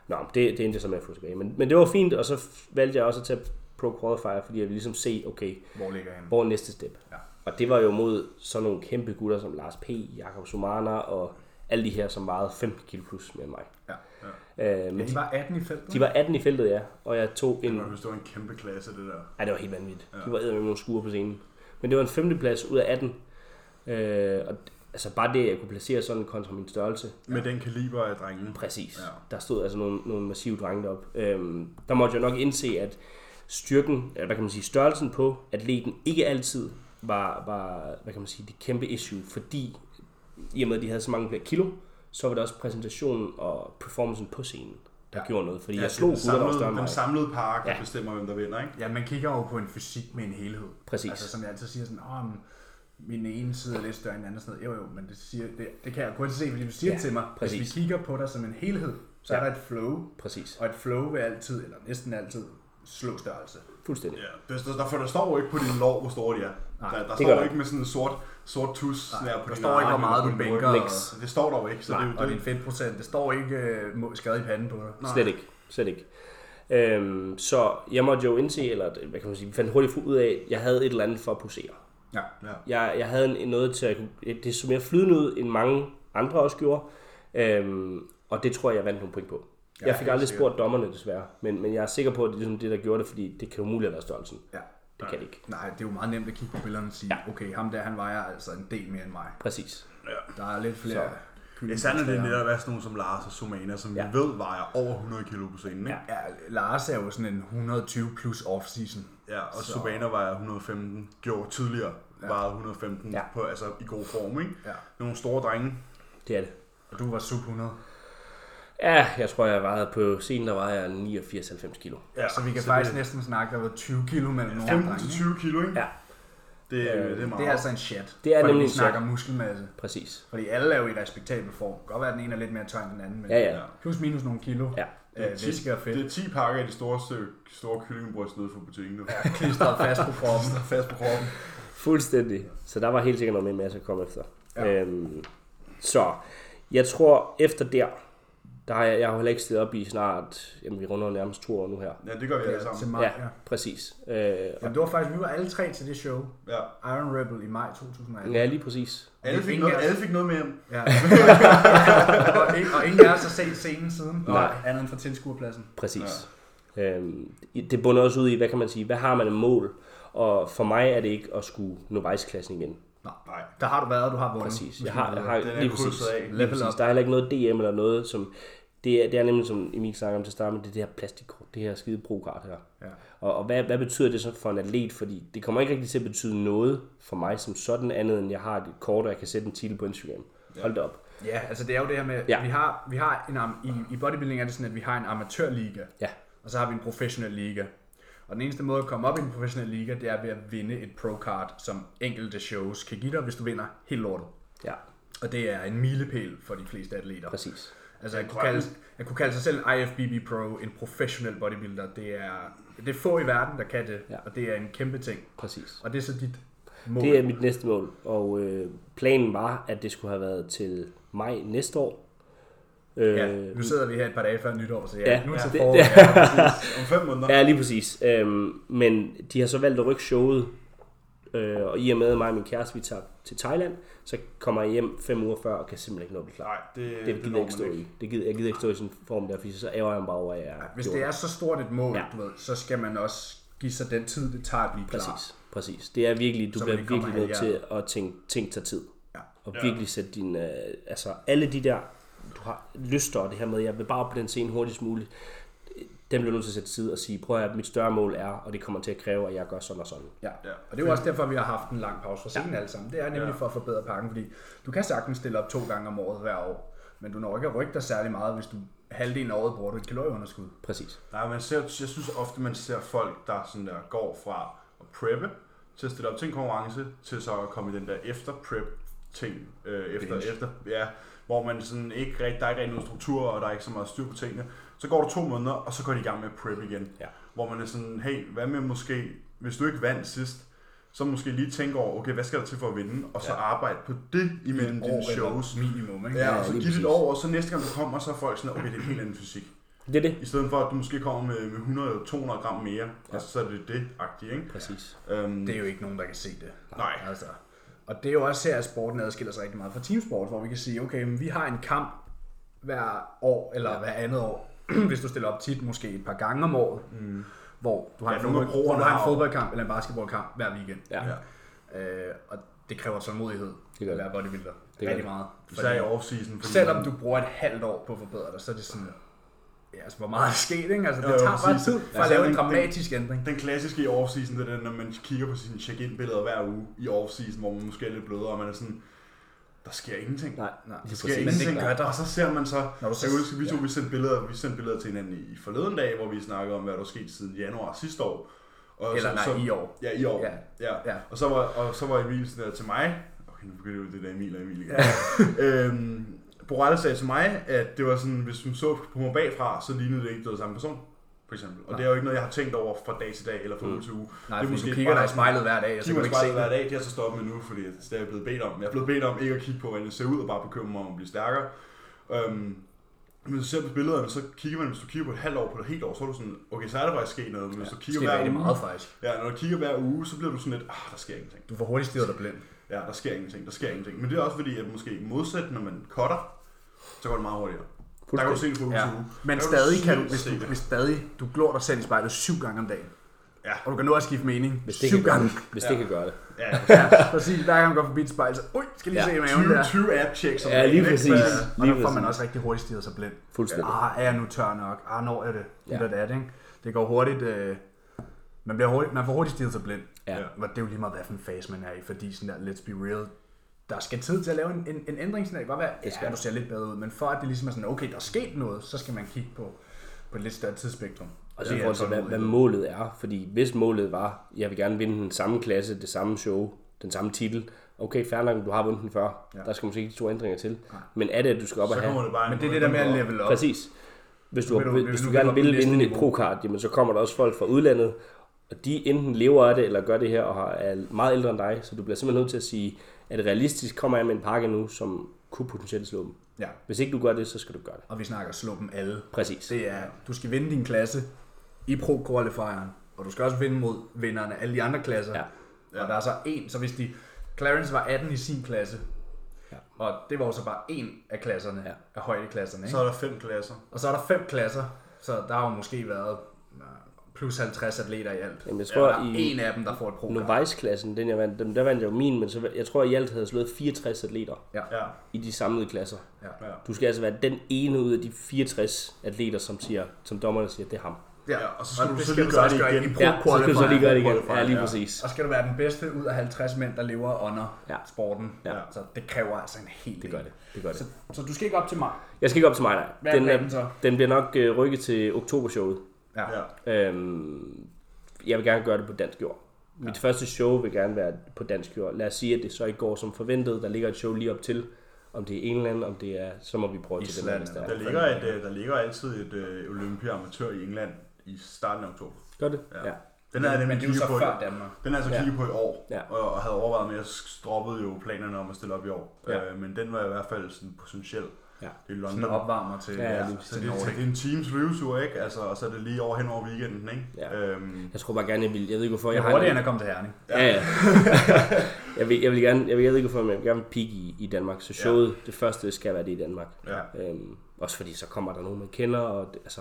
S3: Nå, men det, det endte jeg så med at få tilbage. Men, men det var fint, og så f- valgte jeg også at tage Pro Qualifier, fordi jeg ville ligesom se, okay,
S2: Hvor ligger han?
S3: hvor er næste step?
S2: Ja.
S3: Og det var jo mod sådan nogle kæmpe gutter som Lars P., Jakob Sumana og alle de her, som vejede 15 kilo plus mere end mig.
S2: Ja.
S3: Øh,
S2: Ja,
S3: men
S2: de var 18 i feltet.
S3: de var 18 i feltet, ja, og jeg tog en...
S1: Man kan forstå en kæmpe klasse, det der.
S3: Ej, det var helt vanvittigt. Ja. De var eddermame nogle skure på scenen. Men det var en femteplads ud af 18. Øh, og d- altså bare det, at jeg kunne placere sådan kontra min størrelse.
S1: Med den kaliber af drengene.
S3: Præcis.
S1: Ja.
S3: Der stod altså nogle, nogle massive drenge op. Øhm, der måtte jeg nok indse, at styrken, eller hvad kan man sige, størrelsen på atleten ikke altid var, var hvad kan man sige, det kæmpe issue, fordi i og med, at de havde så mange flere kilo, så var det også præsentationen og performancen på scenen, der ja. gjorde noget. Fordi ja, jeg slog
S1: den
S3: gutter, der var
S1: samlede,
S3: større end mig.
S1: den samlede pakke
S3: Ja.
S1: ja. bestemmer, hvem der vinder, ikke?
S2: Ja, man kigger jo på en fysik med en helhed.
S3: Præcis.
S2: Altså, som jeg altid siger sådan, åh, men min ene side er lidt større end den anden. og Sådan noget. Jo, jo, men det, siger, det, det kan jeg kun se, fordi du siger
S3: Ja,
S2: ja, til mig, præcis.
S3: præcis.
S2: hvis vi kigger på dig som en helhed, så
S3: Ja.
S2: ja. er der et flow,
S3: Præcis.
S2: og et flow vil altid, eller næsten altid, slå størrelse.
S3: Fuldstændig.
S1: Ja, det, der, der, for der står jo ikke på din lov, hvor store de er.
S2: Nej,
S1: der, der
S3: det
S1: står
S3: gør
S1: jo
S3: der
S1: ikke med sådan en sort, sort tus sådan her på
S2: der
S1: din
S2: står ikke,
S1: arm
S2: hvor meget
S1: eller på
S2: du
S1: din ryg.
S2: bænker,
S3: Niks.
S1: Så Det står der jo ikke, så det er jo
S2: Og
S1: det.
S2: din fedtprocent, det står ikke uh, skade i panden på dig.
S1: Nej.
S3: Slet ikke. Slet ikke. Øhm, så jeg måtte jo indse, eller hvad kan man sige, vi fandt hurtigt ud af, at jeg havde et eller andet for at posere.
S2: Ja.
S1: Ja.
S3: Jeg, jeg havde en, en noget til at kunne- det så mere flydende ud, end mange andre også gjorde. Øhm, og det tror jeg, jeg vandt nogle point på.
S1: Ja,
S3: Ja, jeg fik
S1: helt
S3: aldrig
S1: sikkert.
S3: spurgt dommerne desværre, men, men jeg er sikker på, at det er ligesom det, der gjorde det, fordi det kan umuligt have været størrelsen.
S2: Ja.
S3: Det kan det ikke.
S2: Nej, det er jo meget nemt at kigge på billederne og sige, ja. okay, ham der, han vejer altså en del mere end mig.
S3: Præcis.
S2: Der er lidt flere...
S3: Så-
S1: Ja, sandelig det er netop være sådan nogen som Lars og Somana, som ja.
S3: Ja.
S1: vi ved vejer over 100 kilo på scenen. Ikke?
S2: Ja, Lars er jo sådan en 120 plus off-season.
S1: Ja. ja og
S2: Så-
S1: Somana vejer 115, gjorde tidligere, ja. vejede 115 ja.
S3: Ja.
S1: på, altså, i god form. Ikke?
S2: Ja.
S1: Nogle store drenge.
S3: Det er det.
S2: Og du var sub 100.
S3: Ja, jeg tror, jeg vejede på scenen, der vejede jeg 89-90 kilo.
S2: Ja, så vi kan
S1: så
S2: så faktisk
S1: det-
S2: det... næsten snakke, der var 20 kilo mellem ja,
S1: 15 til 20 kilo, ikke?
S3: Ja.
S1: Det, øh, det er meget.
S2: Det er altså en chat.
S3: Det er
S2: fordi
S3: nemlig
S2: vi
S3: en
S2: snakker muskelmasse.
S3: Præcis.
S2: Fordi alle er jo i respektabel form. Det kan Godt være, at den ene er lidt mere tynd end den anden. Men
S3: Ja, ja.
S1: Ja.
S2: Plus minus nogle kilo.
S3: Ja.
S2: Øh, væske og fedt.
S1: det er 10 pakker af de store, styk- store kyllingebryst nede fra butikken nu.
S2: Ja, klistret fast
S1: [laughs]
S2: på kroppen. fast på kroppen.
S3: Fuldstændig. Så der var helt sikkert noget med en masse at komme efter.
S2: Ja.
S3: Ja. Øhm, så jeg tror, efter der, der har jeg, jeg har jo heller ikke stillet op i snart, jamen vi runder jo nærmest to år nu her.
S1: Ja, det gør vi alle
S2: [laughs] Ja, til
S1: sammen.
S2: maj, ja.
S3: ja, præcis. Øh,
S2: Jamen, det var faktisk, vi var alle tre til det show,
S1: Ja.
S2: Iron Rebel, i maj 2018.
S3: ja, lige præcis.
S1: Alle fik,
S2: Ingen
S1: noget,
S2: af os-
S1: alle fik noget med hjem.
S2: Ja. [laughs] og, ingen, og ingen af os har set scenen siden.
S3: Nej.
S2: Andet end fra tilskuerpladsen.
S3: Præcis. Ja. Øhm, det bunder også ud i, hvad kan man sige, hvad har man af mål? Og for mig er det ikke at skulle nå vejsklassen igen.
S1: Nej.
S2: Der har du været, du har vundet.
S3: Præcis. Jeg har, jeg har
S1: Den er
S3: lige
S1: krydset
S3: præcis.
S1: af.
S3: Lige
S2: Level
S3: præcis.
S2: up.
S3: Der er heller ikke noget DM eller noget, som... Det er, det er nemlig, som Emil snakker om til at starte med, det, er det her plastikkort, det her skide brokart her.
S2: Ja.
S3: Og, og hvad, hvad betyder det så for en atlet? Fordi det kommer ikke rigtig til at betyde noget for mig som sådan andet, end jeg har et kort, og jeg kan sætte en titel på Instagram. Hold da op.
S2: Ja, altså det er jo det her med, ja.
S3: Ja.
S2: vi har, vi har en, am- i, i bodybuilding er det sådan, at vi har en amatørliga,
S3: Ja,
S2: og så har vi en professionel liga. Og den eneste måde at komme op i en professionel liga, det er ved at vinde et pro-card, som enkelte shows kan give dig, hvis du vinder helt lortet.
S3: ja,
S2: Og det er en milepæl for de fleste atleter.
S3: præcis.
S2: Altså at kunne,
S1: drømmen.
S2: kalde, at kunne kalde sig selv en IFBB Pro, en professionel bodybuilder, det er, det er få i verden, der kan det, ja.
S3: Ja.
S2: og det er en kæmpe ting.
S3: præcis.
S2: Og det er så dit mål.
S3: Det er mit næste mål, og øh, planen var, at det skulle have været til maj næste år. Øh,
S2: ja, nu sidder vi her et par dage før nytår, så ja,
S3: Ja,
S2: nu er
S3: ja.
S2: det til
S3: Det-
S2: forår.
S3: det-
S2: Ja, [laughs] præcis.
S1: Om fem måneder.
S3: Ja, lige præcis. Øhm, men de har så valgt at rykke showet, øh, og i og med at mig og min kæreste, vi tager til Thailand, så kommer jeg hjem fem uger før og kan simpelthen ikke nå at blive klar.
S1: Nej, det,
S3: det, det gider
S1: når
S3: jeg ikke stå i. Det gider, jeg gider ikke stå i sådan en form der, fordi så ærger jeg mig bare over, at jeg
S2: Hvis
S3: gjorde
S2: det er så stort et mål, ja.
S3: Ja.
S2: du ved, så skal man også give sig den tid, det tager at blive klar.
S3: Præcis, præcis. Det er virkelig, du
S2: Så man
S3: bliver
S2: ikke kommer
S3: virkelig nødt til
S2: halvhjertet.
S3: at tænke, tænke dig tid.
S2: Ja.
S3: Og virkelig sætte din, øh, altså alle de der, du har lyster og det her med, jeg vil bare op på den scene hurtigst muligt, dem bliver du nødt til at sætte til side og sige, prøv at høre, mit større mål er, og det kommer til at kræve, at jeg gør sådan og sådan.
S2: Ja.
S1: Ja.
S2: Og det er jo også derfor, vi har haft en lang pause fra scenen ja. alle sammen. Det er nemlig
S1: Ja.
S2: ja. for at forbedre pakken, fordi du kan sagtens stille op to gange om året hver år, men du når ikke at rykke dig særlig meget, hvis du halvdelen af året bruger du et kalorieunderskud.
S3: Præcis.
S1: Nej, man ser, jeg synes ofte, man ser folk, der sådan der går fra at preppe, til at stille op til en konkurrence, til så at komme i den der efter prep ting, øh, efter,
S2: Binge.
S1: efter, ja, hvor man sådan ikke rigtig, der er ikke rigtig nogen struktur, og der er ikke så meget styr på tingene. Så går der to måneder, og så går de i gang med at prep igen.
S3: Ja.
S1: Hvor man er sådan, hey, hvad med måske, hvis du ikke vandt sidst, så måske lige tænke over, okay, hvad skal der til for at vinde, og så ja. arbejde på det imellem
S2: År
S1: dine
S2: eller
S1: shows.
S2: Minimum, ikke?
S1: Ja,
S3: Ja,
S1: og så
S3: lige
S1: give det et
S3: præcis.
S1: år, og så næste gang du kommer, så er folk sådan, okay, det er en helt anden fysik.
S3: Det er det.
S1: I stedet for, at du måske kommer med, med 100-200 gram mere, ja. og så er det det-agtigt, ikke?
S3: Præcis.
S1: Øhm,
S2: Det er jo ikke nogen, der kan se det.
S1: Nej.
S2: Altså. Og det er jo også her, at sporten adskiller sig rigtig meget fra teamsport, hvor vi kan sige, okay, men vi har en kamp hver år, eller hver andet år, [clears throat] hvis du stiller op tit, måske et par gange om året, mm. hvor du har,
S1: Ja,
S2: en,
S1: nogle af
S2: fodbold, hvor du
S1: broerne
S2: har
S1: har
S2: en
S1: jo-
S2: fodboldkamp eller en basketballkamp hver weekend.
S3: Ja.
S1: Ja.
S2: Øh, og det kræver tålmodighed
S3: gør
S2: det at
S3: det.
S2: være bodybuilder. Det
S3: gør
S2: rigtig
S3: det.
S2: meget.
S1: Især i
S2: Fordi,
S1: off-season. Fordi
S2: selvom du bruger et halvt år på at forbedre dig, så er det sådan, ja, altså, hvor meget er sket, ikke? Altså, det
S1: Jo, jo,
S2: tager bare
S1: præcis.
S2: tid
S1: Ja,
S2: for at
S1: så er
S2: lave en
S1: det-
S2: dramatisk ændring.
S1: Den klassiske i off-season, det er den, når man kigger på sine check-in-billeder hver uge i off-season, hvor man måske er lidt blødere, og man er sådan, der sker ingenting.
S3: Nej,
S2: Nej,
S3: lige
S1: Der sker
S3: præcis.
S1: ingenting,
S2: gør der.
S1: og så ser man så,
S2: Når du så-
S1: jeg husker, vi to, vi sendte billeder, vi sendte billeder til hinanden i, i forleden dag, hvor vi snakkede om, hvad der var sket siden januar sidste år. Og
S2: Eller nej, i år.
S1: Ja, i år.
S2: Ja.
S1: Ja.
S2: Ja.
S1: ja. Og, så var, og så var Emil sådan der til mig. Okay, nu begynder det jo det der Emil og Emil igen. [laughs] øhm, Borrell sagde til mig, at det var sådan, hvis hun så på mig bagfra, så lignede det ikke, det var samme person. For eksempel. Og det er jo ikke noget, jeg har tænkt over fra dag til dag, eller fra uge til uge.
S2: Mm. Nej,
S1: det
S2: fordi du kigger dig i spejlet hver dag, og så
S1: Kigger
S2: kan
S1: mig i
S2: altså, du ikke se
S1: spejlet
S2: det.
S1: hver dag, det har jeg så stoppet med nu, fordi det er jeg blevet bedt om. Jeg er blevet bedt om ikke at kigge på, hvordan jeg ser ud, og bare bekymre mig om at blive stærkere. Øhm, men hvis du ser på billederne, så kigger man, hvis du kigger på et halvt år, på et helt år, så er du sådan, okay, så er der faktisk sket noget, men hvis du
S2: Det
S1: kigger
S2: sker
S1: hver
S2: rigtig
S1: uge,
S2: meget, faktisk.
S1: Ja, når du kigger hver uge, så bliver du sådan lidt, ah, der sker ingenting.
S2: Du får hurtigt stirret dig blind.
S1: Ja, der sker ingenting, der sker ingenting. Men det er også fordi, at måske modsat, når man cutter, så går det meget hurtigere. Der kan du se det på en
S2: Ja.
S1: uge.
S2: Men
S1: Der
S2: stadig
S1: du
S2: kan du,
S1: slet
S2: hvis
S1: se
S2: du,
S1: det.
S2: hvis stadig, du glor dig selv i spejlet syv gange om dagen.
S1: Ja.
S2: Og du kan nå at skifte mening
S3: Hvis det
S2: syv
S3: kan gøre
S2: gange.
S3: det. Hvis det kan gøre det.
S1: Ja,
S2: Ja, præcis. Hver gang du går forbi et spejl, så ui, skal lige
S3: Ja.
S2: se maven der.
S1: 20, 20 app-checks. om
S3: Ja,
S1: dagen,
S3: lige
S1: ikke?
S3: præcis.
S1: Så-
S2: Og
S3: Lige
S2: der får man
S3: præcis.
S2: også rigtig hurtigt stirret sig blind.
S3: Fuldstændig.
S2: Ah, er jeg nu tør nok? Ah, når jeg det?
S3: Ja.
S2: Ja. Det, er det, ikke? det går hurtigt. Øh, man, bliver hurtigt, man får hurtigt stirret sig blind.
S3: Ja.
S2: Og det er jo lige meget, hvad for en fase man er i, fordi sådan der, let's be real, der skal tid til at lave en, en, en ændring, sådan der. det kan godt være,
S3: Det
S2: det
S3: skal
S2: skal. Ja,
S3: der.
S2: du ser lidt bedre ud, men for at det ligesom er sådan, okay, der er sket noget, så skal man kigge på, på et lidt større tidsspektrum.
S3: Og så i
S2: Det er altså
S3: forhold til, hvad, hvad
S2: tålmodighed.
S3: målet er. Fordi hvis målet var, jeg vil gerne vinde den samme klasse, det samme show, den samme titel. Okay, fair nok, du har vundet den før. Ja.
S2: Ja.
S3: Der skal måske ikke de to ændringer til. Men er det, at du skal op
S1: Så
S3: og have...
S1: kommer det bare
S2: Men
S1: en-
S2: det er det der med at level op.
S3: Præcis. Hvis du,
S2: vil du-
S3: hvis,
S2: vil
S3: hvis
S2: du
S3: du
S2: vil
S3: gerne
S2: op på
S3: vil
S2: næste
S3: vinde et
S2: niveau.
S3: pro-card, jamen, så kommer der også folk fra udlandet, og de enten lever af det, eller gør det her, og har- er meget ældre end dig, så du bliver simpelthen nødt til at sige, at realistisk kommer jeg med en pakke nu, som kunne potentielt slå dem.
S2: Ja,
S3: Hvis ikke du gør det, så skal du gøre det.
S2: og vi snakker slå dem alle.
S3: Præcis.
S2: Det er, du skal vinde din klasse i pro qualifieren og du skal også vinde mod vinderne af alle de andre klasser.
S3: Ja.
S2: Og der er så en, så hvis de, Clarence var 18 i sin klasse,
S3: Ja.
S2: ja. og det var jo så bare en af klasserne,
S3: Ja.
S2: ja. af højdeklasserne. Ikke?
S1: Så er der fem klasser.
S2: Og så er der fem klasser, så der har jo måske været øh, plus 50 atleter i alt.
S3: Jamen, jeg
S2: Og
S3: tror,
S2: der er
S3: i
S2: en af dem, der får et pro
S3: Novice-klassen, den jeg vandt, dem, der vandt jeg jo min, men så, jeg tror, at i alt havde jeg slået 64 atleter
S1: Ja,
S3: i de samlede klasser.
S1: ja.
S3: Du skal altså være den ene ud af de 64 atleter, som, siger, som dommerne siger, det er ham.
S1: Ja, og så skal
S2: Og
S1: du
S2: det
S1: så
S2: skal
S1: lige
S2: du
S1: gøre
S2: også
S1: det
S2: gøre
S1: igen.
S2: i-
S3: Ja, så skal du så lige gøre det igen. Ja, lige
S1: Ja.
S3: præcis.
S2: Og skal du være den bedste ud af 50 mænd, der lever under
S3: Ja.
S2: sporten.
S3: Ja.
S2: Så det kræver altså en hel del.
S3: Det gør det. Det gør det.
S2: Så, så du skal ikke op til mig.
S3: Jeg skal ikke op til mig, nej.
S2: Hvad er
S3: Den,
S2: planen
S3: er,
S2: så?
S3: den bliver nok øh, rykket til oktobershowet.
S1: Ja.
S3: Øhm, jeg vil gerne gøre det på dansk jord. Mit første show vil gerne være på dansk jord. Lad os sige, at det så ikke går som forventet. Der ligger et show lige op til. Om det er England, om det er... Så må vi prøve til
S2: Island
S3: det, hvis der
S1: Der
S3: er.
S1: ligger, et, øh, der ligger altid et øh, olympiamatør i England i starten af oktober.
S3: Gør det? Ja.
S1: Ja.
S3: ja.
S1: Den er jeg
S2: Men
S1: nemlig
S2: det er jo
S1: kigget
S2: så
S1: på,
S2: før
S1: i-
S2: Danmark.
S1: den er altså
S3: Ja.
S1: kigget på i år,
S3: Ja.
S1: og og havde overvejet med, at jeg droppede jo planerne om at stille op i år.
S3: Ja.
S1: Øh, men den var i hvert fald sådan potentiel.
S3: Ja.
S1: Det er
S2: Sådan en
S1: London. Øh,
S2: opvarmer til,
S3: Ja,
S2: ja,
S3: lige
S1: Så
S2: til
S1: det, er-
S2: Nordic.
S1: det er en teams flyvetur, ikke? Altså, og så er det lige over hen over weekenden, ikke?
S3: Ja.
S1: Øhm,
S3: Jeg tror bare gerne, jeg vil... Jeg ved ikke, hvorfor jeg,
S2: Jeg
S3: har...
S2: hurtigere end at komme til Herning.
S3: Ja, [laughs] ja. jeg, vil, jeg vil gerne... Jeg, vil, jeg ved ikke, hvorfor, men jeg vil gerne peak i, i Danmark. Så showet, ja. det første, skal være det i Danmark.
S1: ja.
S3: Øhm, også fordi så kommer der nogen, man kender, og det, altså...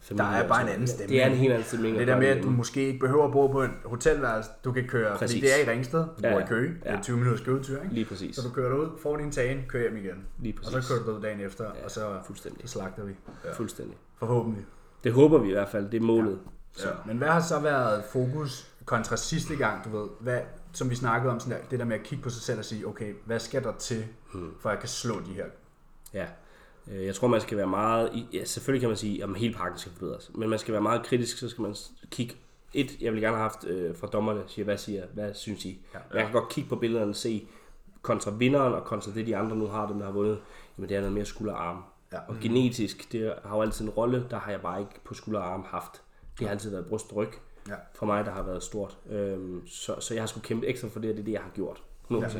S3: familie
S2: bare
S3: og sådan
S2: en anden
S3: noget.
S2: stemning.
S3: Det er en helt anden stemning.
S2: Det
S3: at
S2: der
S3: gøre
S2: med, at du
S3: derhjemme.
S2: måske ikke behøver at bo på et hotelværelse, du kan køre,
S3: Præcis.
S2: fordi det er i Ringsted, du
S3: Ja,
S2: bor
S3: ja.
S2: i Køge, det
S3: Ja.
S2: er 20 minutters køretur, ikke?
S3: Lige præcis.
S2: Så du kører derud, får din tagen, kører hjem igen.
S3: Lige
S2: Og
S3: præcis.
S2: så kører du derud dagen efter,
S3: Ja,
S2: og så,
S3: fuldstændig.
S2: så slagter vi.
S3: Ja. Fuldstændig.
S2: Forhåbentlig.
S3: Det håber vi i hvert fald, det er målet.
S1: ja.
S2: Men hvad har så været fokus kontra sidste gang, du ved, hvad, som vi snakkede om, sådan der, det der med at kigge på sig selv og sige, okay, hvad skal der til,
S3: Hmm.
S2: for at jeg kan slå de her?
S3: Ja. Øh, Jeg tror, man skal være meget... i- Ja, selvfølgelig kan man sige, at hele pakken skal forbedres. Men man skal være meget kritisk, så skal man s- kigge... Et, jeg vil gerne have haft øh, fra dommerne, siger, hvad siger, hvad synes I? Ja. Jeg kan godt kigge på billederne og se kontra vinderen og kontra det, de andre nu har, dem der har vundet. Jamen, det er noget mere skulder og arm. Ja. Og genetisk, det har jo altid en rolle, der har jeg bare ikke på skulder og arm haft. Det har altid været bryst og ryg.
S2: Ja.
S3: For mig, der har været stort. Øhm, så, så jeg har skulle kæmpe ekstra for det, og det er det, jeg har gjort. 100%. Ja. altså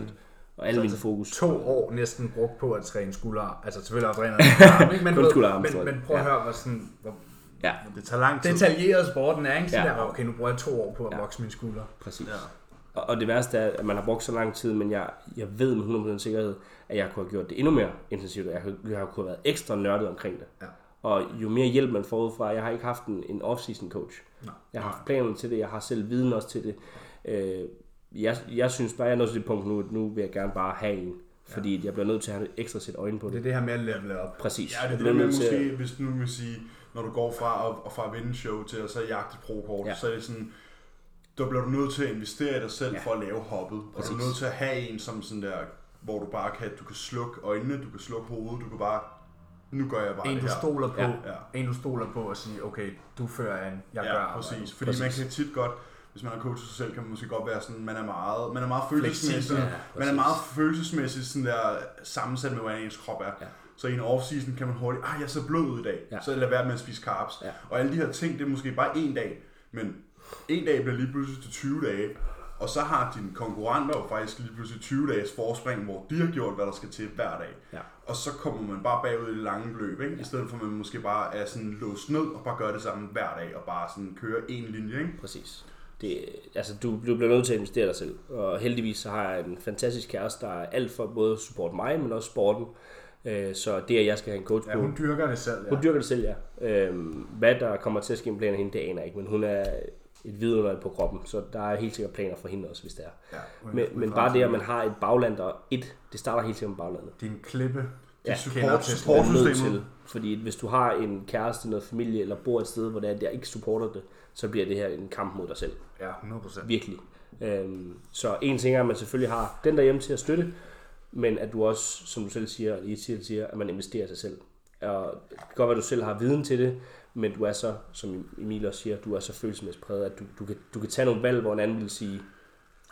S3: Og alle mine fokus.
S2: to år næsten brugt på at træne skulder. Altså selvfølgelig også
S3: [laughs]
S2: træner skulderarm, ikke? men,
S3: Kun
S2: du ved,
S3: skulderarm, tror
S2: men,
S3: jeg.
S2: men prøv at
S3: Ja.
S2: høre, hvor, sådan, hvor
S3: Ja,
S1: Det tager lang tid.
S2: detaljeret sporten er. Ikke? Så
S3: Ja.
S2: ja. der, okay, nu bruger jeg to år på at vokse mine skuldre.
S3: Præcis.
S1: Ja.
S3: Ja. Og, og det værste er, at man har brugt så lang tid, men jeg, jeg ved med 100% sikkerhed, at jeg kunne have gjort det endnu mere intensivt, og jeg, kunne- jeg kunne have været ekstra nørdet omkring det.
S2: Ja.
S3: Og jo mere hjælp man får udefra, jeg har ikke haft en, en off-season coach.
S2: Nej.
S3: Jeg har haft planerne til det, jeg har selv viden også til det. Øh, jeg, jeg synes bare, jeg er nået til det punkt nu, at nu vil jeg gerne bare have en, fordi jeg bliver nødt til at have et ekstra sæt øjne på
S2: Det er
S3: det.
S2: det her med at levele op.
S3: Præcis.
S1: Ja, det er
S3: Jeg
S1: det
S3: bliver
S1: der med
S3: nødt til at-
S1: måske, hvis nu vil sige, når du går fra at, og fra at vinde show til at så jagte et pro-kort,
S3: Ja.
S1: ja. så er det sådan, der bliver du nødt til at investere i dig selv
S3: Ja.
S1: ja. for at lave hoppet. Præcis. Og du
S3: Præcis.
S1: er nødt til at have en som sådan der, hvor du bare kan, du kan slukke øjnene, du kan slukke hovedet, du kan bare, nu gør jeg bare
S2: En
S1: det
S2: du
S1: her.
S2: stoler på,
S3: Ja.
S2: ja.
S1: Ja.
S2: en du stoler på og sige, okay, du fører an, jeg gør
S1: Ja,
S2: arbejdet.
S1: præcis. Fordi præcis. man
S3: Præcis.
S1: kan tit godt, hvis man har coachet sig selv, kan man måske godt være sådan, man er meget, man er meget følelsesmæssigt,
S2: Fleksibel,
S1: ja,
S2: ja,
S1: man er
S3: præcis.
S1: meget følelsesmæssigt sådan der sammensat med, hvordan ens krop er.
S3: Ja.
S1: Ja. Så i en off-season kan man hurtigt, ah, jeg er så blød ud i dag,
S3: Ja.
S1: ja. så lad være med at spise carbs.
S3: Ja.
S1: Ja. Og alle de her ting, det er måske bare en dag, men en dag bliver lige pludselig til 20 dage, og så har dine konkurrenter jo faktisk lige pludselig 20 dages forspring, hvor de har gjort, hvad der skal til hver dag.
S3: Ja.
S1: Og så kommer man bare bagud i det lange løb, ikke? i stedet for at man måske bare er sådan låst ned og bare gør det samme hver dag, og bare sådan kører en linje. Ikke?
S3: Præcis. Det, altså, du, du bliver nødt til at investere dig selv. Og heldigvis så har jeg en fantastisk kæreste, der er alt for både at supporte mig, men også sporten. Øh, så det, at jeg skal have en coach
S2: Ja,
S3: på,
S2: hun dyrker det selv, ja.
S3: hun dyrker det selv, ja. Øhm, hvad der kommer til at ske med planerne hende, det aner jeg ikke, men hun er et vidunder på kroppen, så der er helt sikkert planer for hende også, hvis det er.
S2: ja hun er
S3: Men, men bare det, at man har et bagland og et, det starter helt sikkert med baglandet.
S2: Det er en klippe.
S3: Ja,
S2: De kender
S1: Support,
S2: til
S3: Man er nødt
S1: supportsystemet.
S3: til. Fordi hvis du har en kæreste, noget familie eller bor et sted, hvor det er, der ikke supporter det, så bliver det her en kamp mod dig selv.
S2: Ja, 100%.
S3: Virkelig. Øhm, så en ting er, at man selvfølgelig har den derhjemme til at støtte, men at du også, som du selv siger, og lige siger, siger at man investerer i sig selv. Og det kan godt være, at du selv har viden til det, men du er så, som Emil også siger, du er så følelsesmæssigt præget, at du, du, kan, du kan tage nogle valg, hvor en anden vil sige,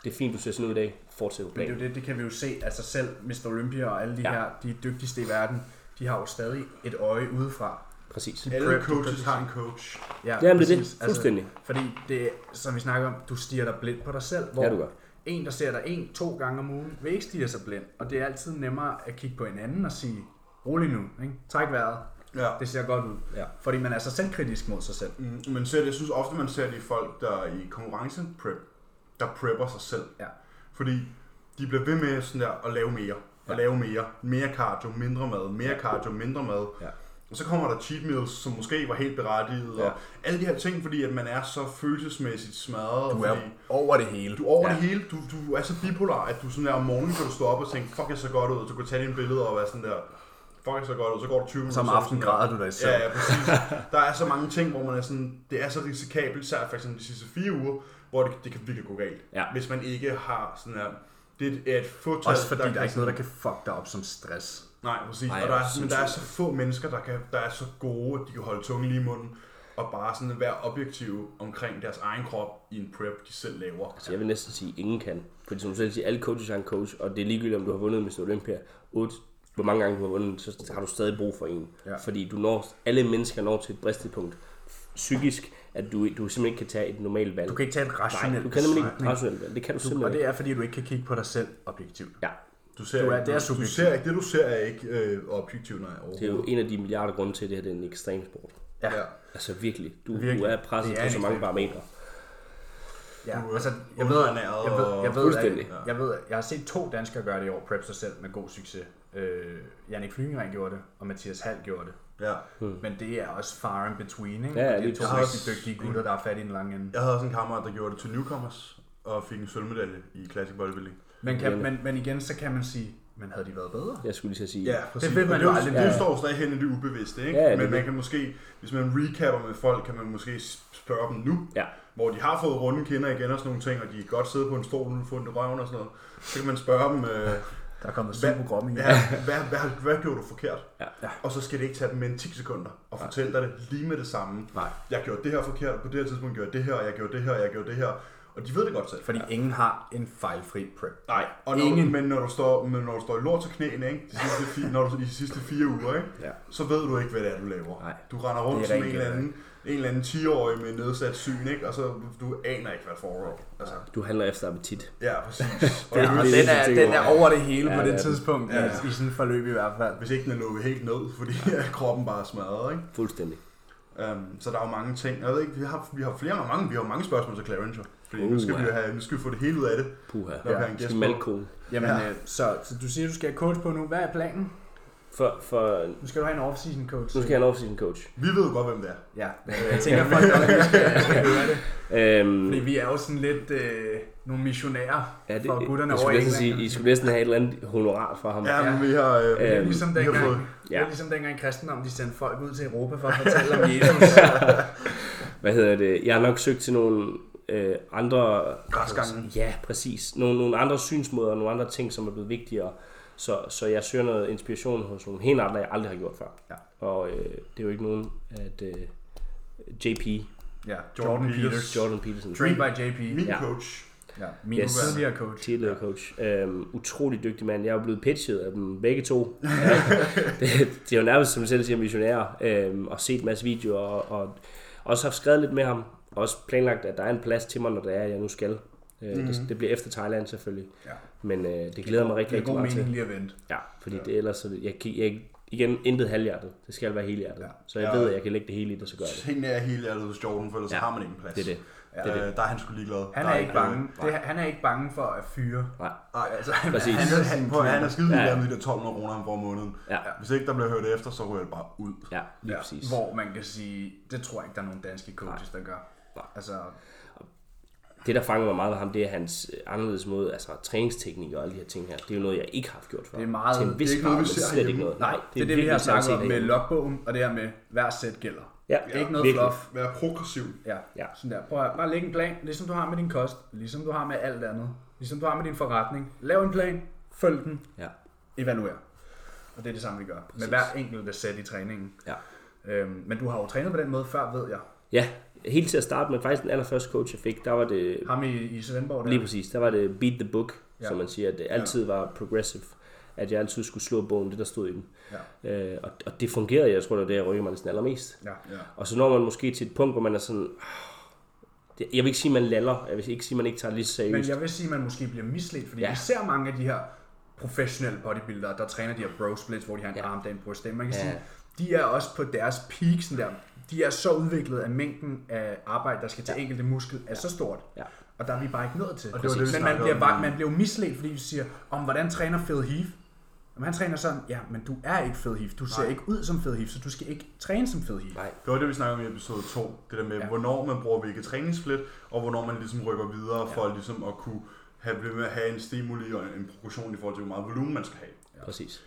S3: det er fint, du ser sådan ud i dag, fortsæt på
S2: Men det, er
S3: planen.
S2: jo det, det kan vi jo se, altså selv Mr. Olympia og alle de
S3: Ja.
S2: ja. her, de dygtigste i verden, de har jo stadig et øje udefra.
S3: Præcis.
S1: Alle
S2: prep,
S1: coaches
S2: du-
S1: har en coach.
S2: Ja,
S3: Jamen, det er
S2: præcis.
S3: det. Fuldstændig.
S2: Altså, fordi det, som vi snakker om, du stiger dig blind på dig selv, hvor
S3: Ja, du gør.
S2: en, der ser dig en, to gange om ugen, vil ikke stige sig blind. Og det er altid nemmere at kigge på en anden og sige, rolig nu, ikke? træk vejret,
S1: Ja.
S2: det ser godt ud.
S3: Ja.
S2: Fordi man er så selvkritisk mod sig selv.
S1: Mm, Men ser det, jeg synes ofte, man ser de folk, der er i konkurrencen prep, der prepper sig selv.
S2: Ja.
S1: Fordi de bliver ved med sådan der at lave mere, og
S2: Ja.
S1: lave mere, mere cardio, mindre mad, mere cardio, mindre mad.
S2: Ja.
S1: Og så kommer der cheat meals, som måske var helt berettiget,
S2: Ja.
S1: og alle de her ting, fordi at man er så følelsesmæssigt smadret.
S2: Du er
S1: fordi
S2: over det hele.
S1: du er over
S2: ja.
S1: ja. det hele, du, du er så bipolar, at du sådan der om morgenen kan du stå op og tænke, fuck jeg ser godt ud, du kan tage dine billeder og være sådan der, fuck jeg ser godt ud, så går du 20 minutter.
S2: Så om
S1: så er du
S2: aftenen
S1: sådan der,
S2: græder du dig selv.
S1: Ja, ja, præcis. Der er så mange ting, hvor man er sådan, det er så risikabelt, især for eksempel de sidste fire uger, hvor det, det kan virkelig gå galt.
S3: Ja.
S1: Hvis man ikke har sådan her, det er et- er et fåtal,
S2: Også fordi der, der er ikke
S1: sådan-
S2: noget, der kan fuck dig op som stress.
S1: Nej, præcis.
S3: Nej,
S1: og der
S3: jeg
S1: er, men
S3: synes
S1: der er
S3: jo-
S1: så få mennesker, der, kan, der er så gode, at de kan holde tungen lige i munden, og bare sådan være objektive omkring deres egen krop i en prep, de selv laver.
S2: Altså,
S3: Så jeg vil næsten sige, at ingen kan. Fordi som du selv siger, alle coaches har en coach, og det er ligegyldigt, om du har vundet Mr. Olympia 8, hvor mange gange du har vundet, så har du stadig brug for en. Ja. Fordi du når, alle mennesker når til et bristepunkt psykisk, at du, du simpelthen ikke kan tage et normalt valg.
S2: Du kan ikke tage et
S3: Nej,
S2: rationelt
S3: du kan nemlig ikke
S2: beslutning.
S3: rationelt valg. Det kan du
S2: Og
S3: simpelthen ikke.
S2: det er, fordi du ikke kan kigge på dig selv objektivt.
S3: Ja,
S1: Du ser,
S2: Du er-
S1: ikke-
S2: det er
S1: du
S2: subjektivt.
S1: ser ikke, det du ser er ikke øh, objektivt, nej, overhovedet.
S3: det er jo en af de milliarder grunde til, at det her det er en ekstrem sport.
S2: Ja.
S3: Altså virkelig, du, virkelig.
S2: Virkelig.
S3: du er presset
S2: Det er
S3: på
S2: en
S3: så mange
S2: ekstrem
S3: parametre.
S2: Ja,
S1: Du er
S2: altså, jeg ved, jeg
S1: underernæret
S2: ved, jeg
S1: og-
S2: ved, jeg,
S3: Fuldstændig.
S2: jeg, jeg ved, jeg har set to danskere gøre det i år, prep sig selv med god succes. Øh, Jannik Flyngeren gjorde det, og Mathias Hall gjorde det.
S1: Ja.
S3: Hmm.
S2: Men det er også far and between, ikke?
S3: Ja,
S2: det
S3: lige
S2: er to
S1: præcis.
S2: rigtig dygtige gutter, der er fat i den lange ende.
S1: Jeg havde også en kammerat, der gjorde det til newcomers, og fik en sølvmedalje i Classic Bodybuilding.
S2: Men, kan, men, men igen, så kan man sige, men havde de været bedre?
S3: Jeg skulle lige til at sige,
S1: præcis.
S2: Det ved man
S1: Og
S2: jo
S1: det,
S2: aldrig.
S1: Det
S2: Ja.
S1: står stadig hen i det ubevidste, ikke?
S3: Ja, det
S1: Men
S3: ved-
S1: man kan måske, hvis man recapper med folk, kan man måske spørge dem nu,
S3: Ja.
S1: hvor de har fået runde kinder igen og sådan nogle ting, og de kan godt sidde på en stol nu fundet i røven og sådan noget. Så kan man spørge dem,
S3: [laughs]
S1: øh,
S2: Der er kommet
S1: Hvad-
S2: super grom igen.
S1: ja, hvad, hvad, hvad gjorde du forkert?
S3: Ja.
S1: Og så skal det ikke tage dem mere end 10 sekunder og fortælle dig det lige med det samme.
S2: Nej.
S1: Jeg gjorde det her forkert, på det her tidspunkt gjorde jeg det her, og jeg gjorde det her, og jeg gjorde det her. Og de ved det godt selv.
S2: Fordi ingen har en fejlfri prep.
S1: Nej, og når,
S2: Ingen.
S1: men når du står, men når du står i lort til knæene, ikke? De sidste fire, når du, i de sidste fire uger, ikke?
S3: Ja.
S1: så ved du ikke, hvad det er, du laver.
S3: Nej.
S1: Du render rundt
S2: Det er
S1: som en
S2: rent
S1: eller, anden, en eller anden 10-årig med nedsat syn, ikke? og så du aner ikke, hvad der foregår. Altså,
S3: du handler efter appetit.
S1: ja, præcis. Og
S3: Ja,
S1: øvrigt,
S3: [laughs] det er
S2: Den
S3: ligesom
S2: er,
S3: tingene
S2: den er
S3: var.
S2: over det hele
S3: Ja,
S2: på
S3: det er
S2: det
S3: den.
S2: tidspunkt,
S1: Ja,
S2: ja,
S1: ja.
S2: i sådan et forløb i hvert fald.
S1: hvis ikke den er lukket helt ned, fordi [laughs] kroppen bare er smadret. Ikke?
S3: Fuldstændig.
S1: Um, så der er jo mange ting. Jeg ved ikke, vi har, vi har flere mange, vi har mange spørgsmål til Clarence. jo. Fordi nu skal
S3: Uh,
S1: vi jo
S3: ja.
S1: have, nu skal vi få det hele ud af det.
S3: Puha.
S1: Når vi har en
S3: Ja.
S1: gæst
S3: Skal
S1: på.
S3: malkone.
S2: Jamen,
S1: Ja.
S2: ja. øh, så, så du siger, du skal have coach på nu. Hvad er planen?
S3: For, for,
S2: Nu skal du have en off-season coach.
S3: nu skal jeg have en off-season coach.
S1: Vi ved jo godt, hvem det er.
S2: Ja, Øh, jeg tænker folk godt, at vi skal, skal høre det.
S3: Øhm,
S2: Fordi vi er jo sådan lidt øh, nogle missionærer
S3: Ja,
S2: det, for gutterne over
S3: jeg skulle
S2: i
S3: næsten sige, I
S2: England. altså.
S3: skulle næsten have et eller andet honorar fra ham.
S1: Ja,
S3: Ja.
S1: men vi har, øh,
S2: Det er
S3: Øhm,
S2: ligesom
S1: vi har
S2: dengang,
S1: fået...
S2: det
S3: ja.
S2: er ligesom dengang kristendom, de sendte folk ud til Europa for at fortælle om
S3: [laughs]
S2: Jesus.
S3: Hvad hedder det? Jeg har nok søgt til nogle øh, andre...
S1: Græsgange.
S3: Ja, præcis. Nogle, nogle andre synsmåder, nogle andre ting, som er blevet vigtigere. Så, så jeg søger noget inspiration hos nogle helt andre, jeg aldrig har gjort før.
S2: Ja.
S3: Og øh, det er jo ikke nogen, at øh, JP,
S2: ja,
S1: Jordan
S2: Jordan
S1: Peters.
S2: Peters.
S3: Jordan Peterson,
S2: Trained by JP.
S1: Min
S3: Ja.
S1: coach.
S2: Ja, min
S3: Yes.
S2: yes. tidligere coach.
S3: tidligere coach, øhm, utrolig dygtig mand. Jeg er jo blevet pitchet af dem begge
S2: [laughs]
S3: to. Ja, det, det er jo nærmest, som jeg selv siger, missionærer, øhm, og set en masse videoer, og, og også haft skrevet lidt med ham. Også planlagt, at der er en plads til mig, når det er, jeg nu skal. Øh, mm. det, det bliver efter Thailand selvfølgelig.
S2: Mhm. Ja.
S3: Men øh, det glæder mig rigtig,
S2: Det er
S3: rigtig
S2: god
S3: meget
S2: mening
S3: til.
S2: lige at vente.
S3: Ja, fordi det ellers, så jeg, kan- jeg, igen, intet halvhjertet. Det skal være helhjertet.
S2: Ja.
S3: Så jeg
S1: Ja.
S3: ved, at jeg kan lægge det hele i det, så gør jeg det.
S1: Tingene er helt ærligt hos Jordan, for ellers
S3: Ja.
S1: har man ikke en plads.
S3: Det er det. det er
S1: Øh, der er han sgu ligeglad.
S2: Han
S1: Der
S2: er, ikke
S1: noget-
S2: bange. Det, han er ikke bange for at fyre.
S3: Nej,
S2: Nej, altså, han,
S3: Præcis.
S1: Han
S2: han,
S1: er,
S2: han,
S1: han, prøv, at høre, han er skide
S3: Ja.
S1: ligeglad med de der 1200 kroner, han får om måneden.
S3: ja,
S1: Hvis ikke der bliver hørt efter, så ryger det bare ud.
S3: ja lige
S2: ja,
S3: præcis.
S2: hvor man kan sige, det tror jeg ikke, der er nogen danske coaches, der gør.
S3: Nej.
S2: Altså,
S3: Det, der fanger mig meget ved ham, det er hans øh, anderledes måde, altså træningsteknik og alle de her ting her. Det er jo noget, jeg ikke har haft gjort før.
S2: Det er meget-
S3: Til en vis
S1: det er ikke noget,
S3: grad,
S1: vi
S3: men
S1: ser
S3: slet
S1: herhjemme.
S3: ikke noget.
S2: Nej, det er det, vi
S3: virkelig
S2: har
S3: sådan
S2: snakket om
S3: set
S2: med
S3: ikke.
S2: logbogen, og det her med, hver sæt gælder.
S3: Ja,
S2: Det er ikke noget
S3: virkelig.
S2: fluff.
S1: Vær progressiv.
S2: Ja.
S3: Ja.
S2: Sådan der. Prøv at bare lægge en plan, ligesom du har med din kost, ligesom du har med alt andet, ligesom du har med din forretning. Lav en plan, følg den,
S3: Ja,
S2: evaluer. Og det er det samme, vi gør. Præcis. Med hver enkelt sæt i træningen.
S3: ja.
S2: Øhm, men du har jo trænet på den måde før, ved jeg.
S3: Ja, helt til at starte med, faktisk den allerførste coach, jeg fik, der var det,
S2: Ham i, i Svendborg der.
S3: lige præcis, der var det beat the book, ja.
S2: Ja.
S3: som man siger, at det altid var progressive, at jeg altid skulle slå bogen, det der stod i den. Ja. Øh, og, og det fungerede, jeg tror, det var det, jeg rykkede mig næsten allermest.
S2: Ja. ja.
S3: Og så når man måske til et punkt, hvor man er sådan, "Ah, det- jeg vil ikke sige, man laller, jeg vil ikke sige, man ikke tager det lige så
S2: Men
S3: seriøst.
S2: jeg vil sige, at man måske bliver misledt, fordi
S3: Ja.
S2: ja. vi ser mange af de her professionelle bodybuildere, der træner de her bro splits, hvor de har en
S3: Ja.
S2: ja. arm, der er en bryst. Man kan
S3: Ja.
S2: ja. sige, de er også på deres peak, sådan der. De er så udviklet, at mængden af arbejde, der skal til ja. enkelte muskel, er ja. så stort.
S3: Ja.
S2: Og der er vi bare ikke nået til.
S1: det var det, vi
S2: men man
S1: snakkede
S2: bliver,
S1: om.
S2: bare, man bliver jo misledt, fordi vi siger, om hvordan træner Phil Heath? Om han træner sådan, ja, men du er ikke Phil Heath. Du ser Nej. ikke ud som Phil Heath, så du skal ikke træne som Phil Heath.
S3: Nej.
S1: Det var det, vi snakkede om i episode 2. Det der med, ja. hvornår man bruger hvilket træningssplit, og hvornår man ligesom rykker videre ja. for ligesom at kunne have, blive med at have en stimuli og en progression i forhold til, hvor meget volumen man skal have.
S3: Præcis.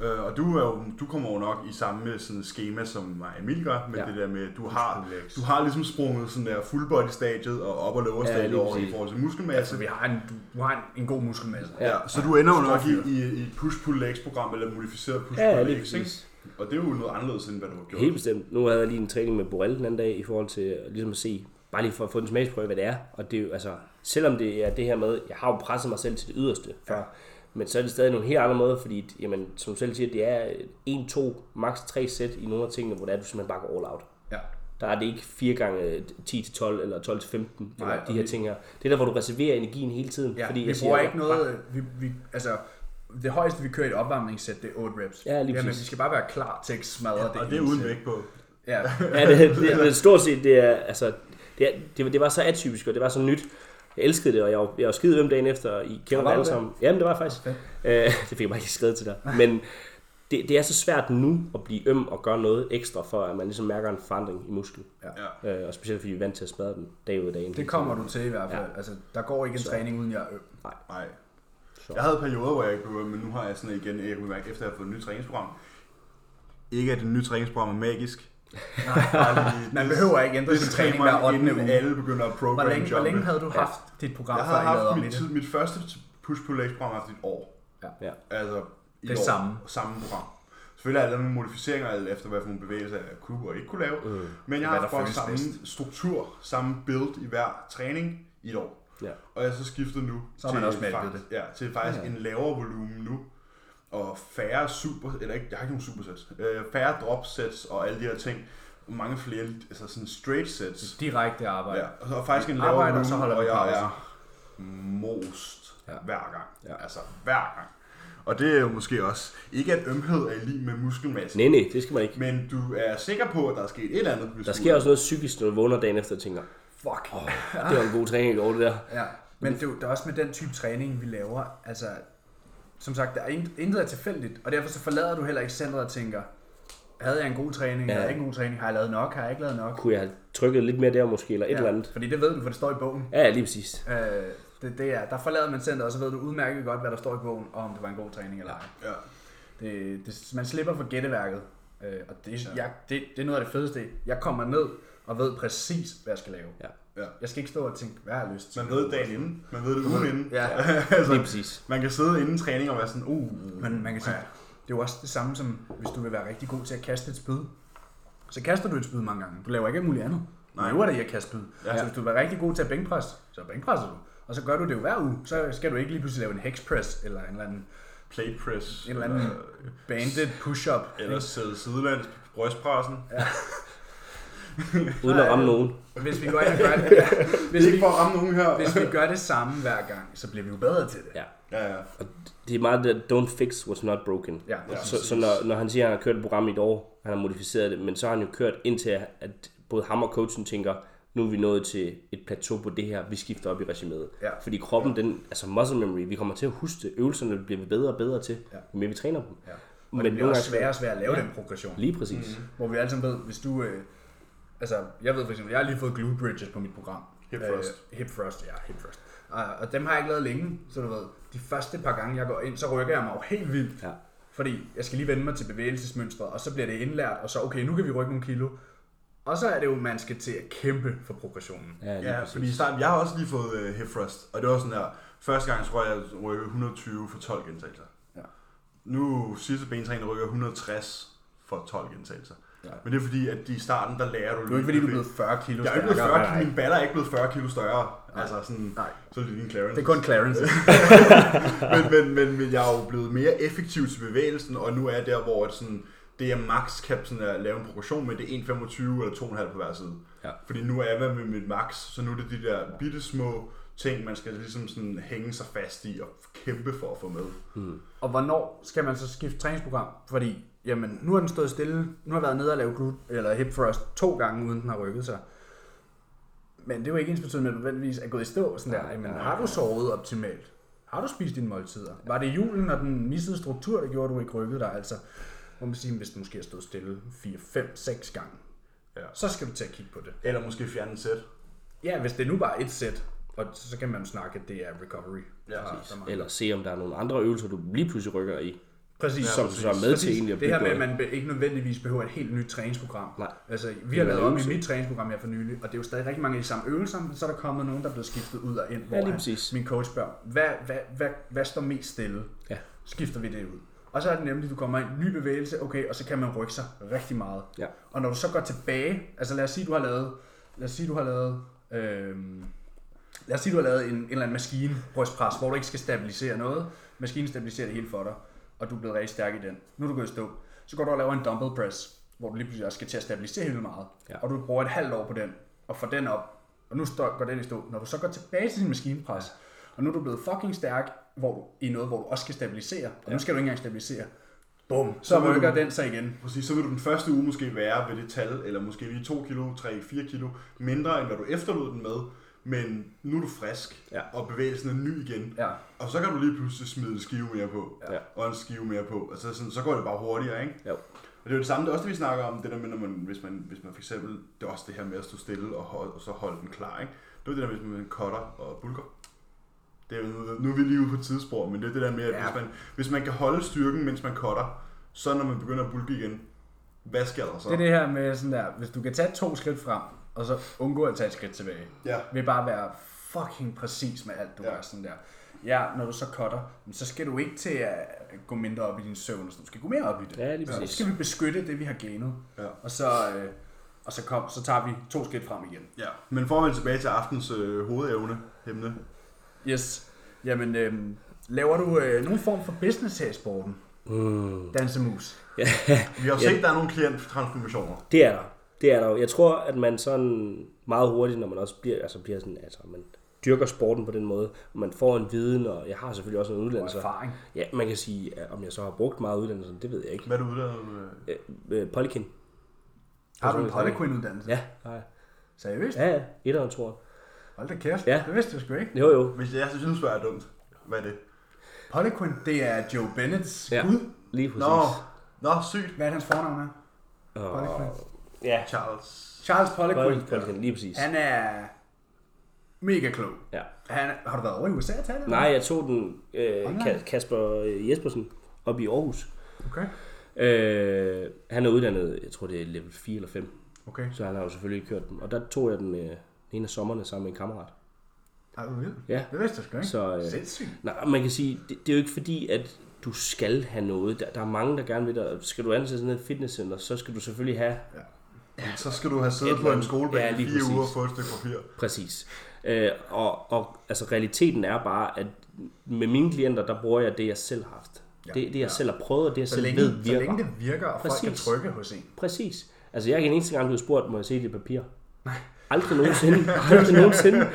S1: Øh, og du, er jo, du kommer jo nok i samme sådan, schema, som mig og Emil gør, med
S3: Ja.
S1: ja. det der med, du har,
S2: Muskelvækst.
S1: du har ligesom sprunget sådan der full body stadiet og op- og lower
S3: Ja,
S1: stadiet
S3: lige
S1: over i
S3: præcis.
S1: forhold til
S2: Så
S1: muskelmasse.
S2: vi har en, du, du har en, en god muskelmasse.
S3: Ja.
S1: Ja, så du ender jo nok
S2: Stor fyr.
S1: i, i, i et push-pull-legs-program, eller modificeret
S3: Ja, ja, lige
S1: push-pull-legs, ikke?
S3: præcis.
S1: Og det er jo noget anderledes, end hvad du har gjort.
S3: Helt bestemt. Nu havde jeg lige en træning med Borrell den anden dag, i forhold til øh, ligesom at se, bare lige for at få en smagsprøve, hvad det er. Og det er jo, altså, selvom det er det her med, jeg har jo presset mig selv til det yderste før, ja. men så er det stadig nogle helt andre måder, fordi, jamen, som du selv siger, det er 1, 2, max 3 sæt i nogle af tingene, hvor det er, du simpelthen bare går all out.
S2: Ja.
S3: Der er det ikke 4 gange 10 til 12 eller 12 til 15
S2: Nej,
S3: eller de
S2: og
S3: her
S2: vi-
S3: ting her. Det er der, hvor du reserverer energien hele tiden.
S2: Ja, fordi
S3: fordi
S2: vi
S3: jeg
S2: bruger
S3: siger,
S2: ikke noget... Vi, vi, altså, det højeste, vi kører i et opvarmningssæt, det er 8 reps.
S3: Ja, lige
S2: men
S3: præcis.
S2: vi skal bare være klar til at smadre det.
S1: Og det er
S2: ene
S1: uden
S2: sæt.
S1: vægt på.
S2: Ja,
S3: Ja, det, det, det, stort set, det er, altså, det, er, det, det var så atypisk, og det var så nyt. Jeg elskede det, og jeg var, jeg var skide hvem dagen efter. I kender det
S2: var
S3: alle
S2: du det?
S3: sammen. Jamen, det var jeg faktisk. Okay. Øh, [laughs] det fik jeg bare ikke skrevet til dig. Men det, det er så svært nu at blive øm og gøre noget ekstra, for at man ligesom mærker en forandring i musklen.
S1: Ja.
S3: Øh, og specielt fordi vi er vant til at smadre den dag ud af dagen.
S2: det kommer du til i hvert fald. Ja. Altså, der går ikke en
S3: Så.
S2: træning, uden jeg er øm.
S1: Nej. Jeg havde perioder, hvor jeg ikke blev, men nu har jeg sådan igen, jeg kunne mærke, efter jeg har fået et nyt træningsprogram. Ikke at det nye træningsprogram er
S3: [laughs]
S1: magisk. Nej,
S2: Man behøver ikke ændre sin træning hver 8.
S1: inden
S2: uge.
S1: alle begynder at
S2: Hvor
S1: program
S2: længe, hvor længe havde du haft dit program,
S1: Jeg
S2: før
S1: havde
S2: I lavede
S1: haft
S2: om i
S1: mit,
S2: det?
S1: tid, mit første push pull legs program efter et år.
S3: Ja.
S1: Altså, i
S2: Det
S1: år,
S2: samme.
S1: Samme program. Selvfølgelig har jeg lavet nogle modificeringer alt efter, hvad for nogle bevægelser jeg kunne og ikke kunne lave.
S3: Øh.
S1: Men jeg
S2: Hvad
S1: har
S2: der
S1: haft bare
S2: føles
S1: samme struktur, samme build i hver træning i et år.
S3: Ja.
S1: Og jeg er så skiftet nu
S2: Så har man også malket
S1: faktisk, Ja, til faktisk ja. en lavere volumen nu. Og færre super, eller ikke, jeg har ikke nogen supersets. Øh, færre drop sets og alle de her ting. Mange flere, altså sådan straight sets.
S2: Direkte arbejde.
S1: Ja,
S2: Ja.
S1: og så faktisk en lavere
S2: Arbejder,
S1: volumen,
S2: så holder
S1: og
S2: man
S1: jeg
S2: pause.
S1: er most
S3: Ja.
S1: ja. hver gang.
S3: Ja.
S1: Ja. Altså hver gang. Og det er jo måske også, ikke at ømhed er lige med muskelmasse,
S3: Nej, nej, det skal man ikke.
S1: men du er sikker på, at der er sket et eller andet. Hvis
S3: Der
S1: du-
S3: sker også noget psykisk, når du vågner dagen efter og tænker, "Ah,
S2: Fuck.
S3: det var en god træning i går, det der.
S2: Ja. Men det, er jo- det er også med den type træning, vi laver. Altså, som sagt, der er int- intet er tilfældigt, og derfor så forlader du heller ikke centret og tænker, havde jeg en god træning,
S3: Ja.
S2: havde jeg ikke en god træning, har jeg lavet nok, har jeg ikke lavet nok?
S3: Kunne jeg have trykket lidt mere der måske, eller et eller andet.
S2: Fordi det ved du, for det står i bogen.
S3: Ja, ja, lige præcis.
S2: Øh, det, det er, der forlader man centret, og så ved du udmærket godt, hvad der står i bogen, og om det var en god træning eller ej.
S1: Ja.
S2: Det, det, man slipper for gætteværket, øh, og det, ja. jeg, det, det er noget af det fedeste. Jeg kommer ned og ved præcis, hvad jeg skal lave.
S3: Ja.
S1: Ja.
S2: Jeg skal ikke stå og tænke, hvad jeg har lyst til.
S1: Man ved dagen inden, man ved det ugen inden.
S2: Ja.
S1: [laughs] altså,
S3: Lige præcis.
S1: Man kan sidde inden træning og være sådan, uh,
S2: Men man kan sige,
S1: ja.
S2: det er jo også det samme som, hvis du vil være rigtig god til at kaste et spyd. Så kaster du et spyd mange gange. Du laver ikke alt muligt andet. Du
S1: Nej.
S2: øver dig i at kaste spyd.
S1: Ja.
S2: Ja. Så hvis du vil være rigtig god til at bænkpresse, så bænkpresser du. Og så gør du det jo hver uge. Så skal du ikke lige pludselig lave en hexpress, eller en eller anden
S1: plate press,
S2: En eller anden-
S1: eller,
S2: banded push-up.
S1: eller sidde sidelands på brystpressen. Ja.
S3: Uden at ramme nogen.
S2: Hvis vi går ind og gør det, ja. hvis, vi,
S1: Ikke for at ramme nogen her.
S2: hvis vi gør det samme hver gang, så bliver vi jo bedre til det.
S3: Ja.
S1: Ja, ja.
S3: Det er meget det, der, don't fix what's not broken.
S2: Ja,
S3: Så, så når, når han siger, at han har kørt et program i et år, han har modificeret det, men så har han jo kørt indtil, at både ham og coachen tænker, nu er vi nået til et plateau på det her, vi skifter op i regimet.
S2: Ja.
S3: Fordi kroppen, den, altså muscle memory, vi kommer til at huske det. Øvelserne bliver vi bedre og bedre til,
S2: Ja.
S3: jo mere vi træner dem.
S2: Ja.
S3: Men
S2: Og det bliver
S3: nogle
S2: også Mhm.
S3: gange-
S2: sværere og sværere at lave den progression.
S3: Lige præcis. Mm.
S2: Hvor vi alle sammen ved, hvis du... Øh, altså, jeg ved for eksempel, jeg har lige fået glute bridges på mit program.
S1: Hip thrust.
S2: Øh, hip thrust, ja, hip thrust. Uh, og dem har jeg ikke lavet længe, så du ved, de første par gange, jeg går ind, så rykker jeg mig jo helt vildt.
S3: Ja.
S2: Fordi jeg skal lige vende mig til bevægelsesmønstret, og så bliver det indlært, og så okay, nu kan vi rykke nogle kilo. Og så er det jo, man skal til at kæmpe for progressionen.
S3: Ja, lige
S1: Ja,
S3: præcis.
S1: fordi i starten, jeg har også lige fået øh, hip thrust, og det var sådan der, første gang tror jeg, jeg rykkede 120 for 12 gentagelser.
S4: Ja.
S1: Nu sidste bentræner rykker 160 for 12 gentagelser. Ja. Men det er fordi, at i starten, der lærer du...
S2: Det er jo ikke, fordi du er blevet 40 kilo
S1: Jeg er ikke blevet 40
S3: Nej, nej.
S1: kilo, min baller er ikke blevet 40 kilo større. Altså sådan,
S2: Nej.
S1: så er det din clearance.
S2: Det er kun Clarence.
S1: [laughs] men, men, men, men jeg er jo blevet mere effektiv til bevægelsen, og nu er jeg der, hvor at sådan, det jeg max kan sådan, at lave en progression med, det er 1,25 eller 2,5 på hver side.
S3: Ja.
S1: Fordi nu er jeg med mit max, så nu er det de der bitte små ting, man skal ligesom sådan hænge sig fast i og kæmpe for at få med.
S2: Og hvornår skal man så skifte træningsprogram? Fordi, jamen, nu har den stået stille. Nu har jeg været nede og lavet glute, eller hip thrust to gange, uden den har rykket sig. Men det er jo ikke ens betydende, at du nødvendigvis er gået i stå. Sådan der. Jamen, har du sovet optimalt? Har du spist dine måltider? Var det julen og den missede struktur, der gjorde, at du ikke rykkede dig? Altså, må man sige, hvis du måske har stået stille 4, 5, 6 gange,
S1: Ja.
S2: så skal du til at kigge på det.
S1: Eller måske fjerne et sæt.
S2: Ja, hvis det nu bare er et sæt, og så kan man jo snakke, at det er recovery.
S1: Ja,
S2: Fra-
S1: præcis.
S2: fra mange.
S3: Eller se, om der er nogle andre øvelser, du lige pludselig rykker i,
S2: Præcis.
S3: som du så er med til egentlig at
S2: det her med,
S3: bygge
S2: at
S3: noget.
S2: man be- ikke nødvendigvis behøver et helt nyt træningsprogram.
S3: Nej.
S2: Altså, vi
S3: Det er
S2: har lavet
S3: en
S2: om i
S3: øvelse.
S2: mit træningsprogram her for nylig, og det er jo stadig rigtig mange af de samme øvelser, men så er der kommet nogen, der er blevet skiftet ud og ind, hvor
S3: lige
S2: han-
S3: præcis.
S2: min coach spørger, hvad, hvad, hvad, hvad står mest stille?
S3: Ja.
S2: Skifter vi det ud? Og så er det nemlig, at du kommer ind, ny bevægelse, okay, og så kan man rykke sig rigtig meget.
S3: Ja.
S2: Og når du så går tilbage, altså lad os sige, du har lavet, lad os sige, du har lavet, øhm, lad os sige, du har lavet en, en eller anden maskine, brystpres, hvor du ikke skal stabilisere noget. Maskinen stabiliserer det hele for dig, og du er blevet rigtig stærk i den. Nu er du gået i stå. Så går du og laver en dumbbell press, hvor du lige pludselig også skal til at stabilisere helt vildt meget.
S3: Ja.
S2: Og du bruger et halvt år på den, og får den op, og nu står, går den i stå. Når du så går tilbage til din maskinpres, og nu er du blevet fucking stærk hvor du, i noget, hvor du også skal stabilisere, og nu skal du ikke engang stabilisere. Bum, så,
S1: Så vil
S2: rykker
S1: du-
S2: den sig igen.
S1: Præcis, så vil du den første uge måske være ved det tal, eller måske lige 2 kilo, 3, 4 kilo, mindre end hvad du efterlod den med, men nu er du frisk,
S3: Ja.
S1: og bevægelsen er ny igen.
S2: Ja.
S1: Og så kan du lige pludselig smide en skive mere på,
S3: Ja.
S1: og en skive mere på, og så, sådan, så går det bare hurtigere, ikke?
S3: Jo.
S1: Og det er jo det samme, det er også det, vi snakker om, det der med, når man, hvis, man, hvis man for eksempel, det er også det her med at stå stille og, hold, og så holde den klar, ikke? Det er jo det der med, hvis man cutter og bulker. Det er, jo- nu er vi lige ude på et tidsspor, men det er det der med, at
S2: Ja.
S1: ja. hvis, man, hvis man kan holde styrken, mens man cutter, så når man begynder at bulke igen, hvad sker der så?
S2: Det er det her med sådan der, hvis du kan tage to skridt frem, og så undgå at tage et skridt tilbage.
S1: Ja.
S2: Vil bare være fucking præcis med alt, du ja.
S1: Ja.
S2: gør sådan der. Ja, når du så cutter, men så skal du ikke til at gå mindre op i din søvn, og sådan. du skal gå mere op i det.
S3: Ja, lige
S2: så
S3: præcis.
S2: skal vi beskytte det, vi har genet.
S1: Ja.
S2: Og så, øh, og så, kom, så tager vi to skridt frem igen.
S1: Ja, men for at vende tilbage til aftens øh, hovedevne, emne.
S2: Yes. Jamen, øh, laver du øh, nogen form for business her i sporten? Mm. Dansemus.
S1: Vi har jo set, at der er nogle klienttransformationer.
S3: Det er der. Det er der jo. Jeg tror, at man sådan meget hurtigt, når man også bliver, altså bliver sådan, altså man dyrker sporten på den måde, og man får en viden, og jeg har selvfølgelig også en
S2: Og
S3: uddannelse.
S2: erfaring.
S3: Ja, man kan sige, at om jeg så har brugt meget uddannelse, det ved jeg ikke.
S1: Hvad er du uddannet? øh?
S3: Øh, øh, Polykin.
S2: Har du en Polyquin-uddannelse?
S3: Ja, nej.
S2: Seriøst?
S3: Ja, ja. Et og to
S2: Hold da kæft.
S3: Ja.
S2: Det vidste jeg sgu ikke.
S3: Jo, jo.
S1: Hvis jeg synes, det er dumt, hvad er det?
S2: Poliquin, det er Joe Bennets
S3: Ja.
S2: ja. gud.
S3: Lige præcis.
S1: Nå, nå sygt.
S2: Hvad er hans fornavn er?
S3: og,
S2: Poliquin.
S3: ja,
S1: Charles.
S2: Charles Poliquin.
S3: Polykin, lige præcis.
S2: Han er mega klog.
S3: Ja.
S2: Han, har du været over i USA og tale?
S3: Nej, jeg tog den øh,
S2: Online?
S3: Ka- Kasper øh, Jespersen op i Aarhus.
S2: Okay.
S3: Øh, han er uddannet, jeg tror det er level 4 eller 5.
S2: Okay.
S3: Så han har jo selvfølgelig kørt den. Og der tog jeg den øh, en af sommerne sammen med en kammerat.
S2: Har du vildt?
S3: Ja.
S2: Det vidste jeg sgu ikke.
S3: Så, øh,
S2: Sindssygt.
S3: nej, man kan sige, det, det er jo ikke fordi, at du skal have noget. Der, der er mange, der gerne vil dig. Skal du ansætte sådan et fitnesscenter, så skal du selvfølgelig have
S1: Men så skal du have siddet
S3: Et
S1: på en
S3: eller-
S1: skolebænk
S3: Ja,
S1: ja, i
S3: lige
S1: fire
S3: præcis.
S1: uger og få et stykke papir.
S3: Præcis. Øh, og, og altså, realiteten er bare, at med mine klienter, der bruger jeg det, jeg selv har haft. Ja, det, det, jeg ja. selv har prøvet, og det, jeg
S2: Så
S3: selv
S2: længe,
S3: ved virker.
S2: så længe det virker, og folk
S3: Præcis.
S2: kan trykke hos en.
S3: Præcis. Altså, jeg er ikke en eneste gang blevet spurgt, må jeg se dit papir?
S2: [laughs]
S3: Aldrig nogensinde. [laughs] Aldrig nogensinde.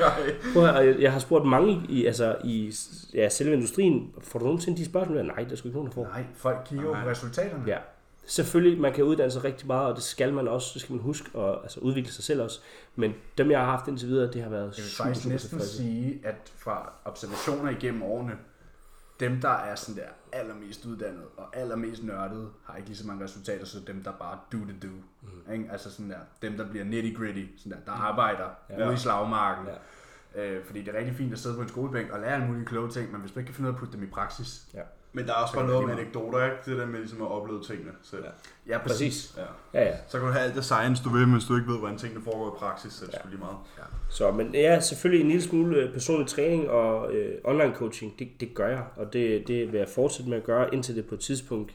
S3: Prøv at, høre, og jeg- jeg har spurgt mange i, altså, i ja, selve industrien, får du nogensinde de spørgsmål? Nej, der er sgu ikke nogen, der får.
S2: Nej, folk kigger jo på resultaterne.
S3: Ja. selvfølgelig, man kan uddanne sig rigtig meget, og det skal man også, det skal man huske, og altså udvikle sig selv også. Men dem, jeg har haft indtil videre, det har været
S2: Jeg vil
S3: super,
S2: faktisk
S3: super
S2: næsten
S3: tilfredse.
S2: sige, at fra observationer igennem årene, dem der er sådan der allermest uddannet og allermest nørdet, har ikke lige så mange resultater, så dem der bare do the do. Mm. Ikke? Altså sådan der, dem der bliver nitty gritty, sådan der, der arbejder ja. ude i slagmarken. Ja. Øh, fordi det er rigtig fint at sidde på en skolebænk og lære alle mulige kloge ting, men hvis man ikke kan finde ud af at putte dem i praksis.
S3: Ja.
S1: Men der er også bare noget om anekdoter, ikke? Det der med ligesom at opleve tingene selv. Ja.
S2: Ja, præcis.
S3: Præcis.
S1: ja.
S3: Ja, ja.
S1: Så kan du have alt det science, du vil, men hvis du ikke ved, hvordan tingene foregår i praksis, så er det ja. sgu lige meget.
S3: Så, men ja, selvfølgelig en lille smule øh, personlig træning og øh, online coaching, det, det gør jeg, og det, det vil jeg fortsætte med at gøre, indtil det på et tidspunkt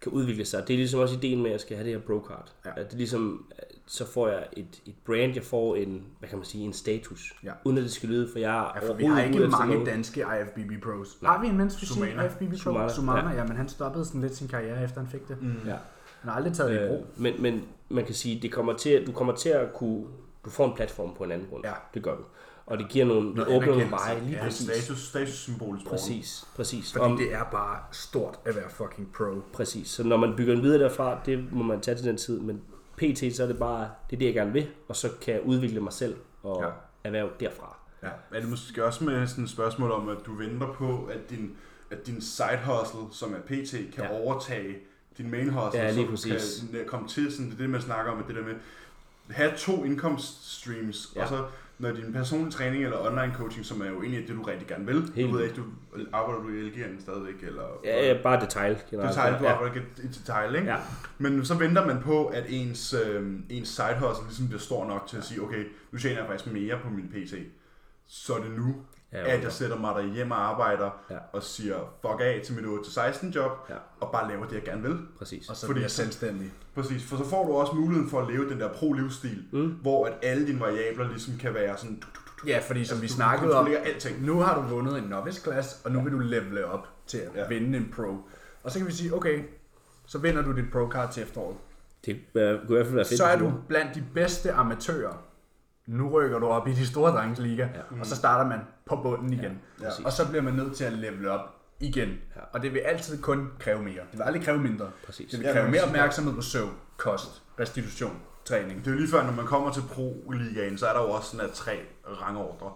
S3: kan udvikle sig. Det er ligesom også ideen med, at jeg skal have det her brocard. Ja. At det er ligesom, øh, så får jeg et, et brand, jeg får en, hvad kan man sige, en status,
S2: Ja.
S3: uden at det skal lyde, for jeg er
S2: Ja, for vi har ikke mange danske IFBB pros. Har vi en mens vi
S1: Sumana.
S2: siger IFBB
S3: Sumana,
S2: pro? Sumana,
S3: ja.
S2: ja. ja. men han stoppede sådan lidt sin karriere efter han fik det.
S1: Mm.
S3: Ja.
S2: Han har aldrig taget det i brug.
S3: Øh, men, men man kan sige, det kommer til, at- du kommer til at kunne, du får en platform på en anden grund.
S2: Ja.
S3: Det gør du. Og det giver nogle, det
S2: Noget
S3: åbner nogle
S2: anerkendelse.
S3: veje, lige
S1: Ja,
S3: præcis.
S1: status, statussymbol i sporten.
S3: Præcis, præcis.
S2: Fordi det er bare stort at være fucking pro.
S3: Præcis. Så når man bygger en videre derfra, det må man tage til den tid. Men pt. så er det bare, det er det, jeg gerne vil. Og så kan jeg udvikle mig selv og ja.
S2: Ja.
S3: erhverv derfra.
S1: Ja. Er det måske også med sådan et spørgsmål om, at du venter på, at din, at din side hustle, som er PT, kan
S3: Ja.
S1: ja. overtage din main hustle,
S3: Ja, lige
S1: så du
S3: præcis.
S1: kan n- komme til, sådan det er det, man snakker om, at det der med, have to indkomst streams,
S3: Ja.
S1: ja. og så når din personlige træning eller online coaching, som er jo egentlig det, du rigtig gerne vil,
S3: Helt
S1: du ved ikke, du arbejder du i LG'en stadigvæk, eller
S3: Ja, ja bare detalj. generelt.
S1: detail, du
S3: Altså, ja.
S1: arbejder ikke i detail, ikke?
S3: Ja.
S1: Men så venter man på, at ens, øh, ens side hustle ligesom bliver stor nok til at sige, okay, nu tjener jeg faktisk mere på min PC. Så er det nu,
S3: Ja,
S1: ja,
S3: okay.
S1: at jeg sætter mig derhjemme og arbejder
S3: Ja.
S1: ja. og siger fuck af til mit 8-16 job
S3: Ja.
S1: ja. og bare laver det, jeg gerne vil.
S3: Præcis.
S2: Og så
S1: Fordi-
S2: bliver selvstændig.
S1: Præcis, for så får du også muligheden for at leve den der pro-livsstil, mm. hvor at alle dine variabler ligesom kan være sådan... Du, du, du, du.
S2: Ja, fordi som vi
S1: du
S2: snakkede om,
S1: kontrollerer alting.
S2: nu har du vundet en novice class, og nu vil du levele op til at
S1: Ja.
S2: vinde en pro. Og så kan vi sige, okay, så vinder du dit pro card til efteråret.
S3: Det øh, kunne i hvert fald være fedt.
S2: Så er
S3: hvis
S2: du blandt de bedste amatører. Nu rykker du op i de store drengesliga, ja. og så starter man på bunden igen. Ja, og så bliver man nødt til at levele op igen. Ja. Og det vil altid kun kræve mere. Det vil aldrig kræve mindre.
S3: Præcis.
S2: Det vil
S1: Ja,
S2: kræve
S1: men
S2: mere
S1: præcis.
S2: opmærksomhed på søvn, kost, restitution, træning.
S1: Det er jo lige før, når man kommer til pro-ligaen, så er der jo også sådan her tre rangordre.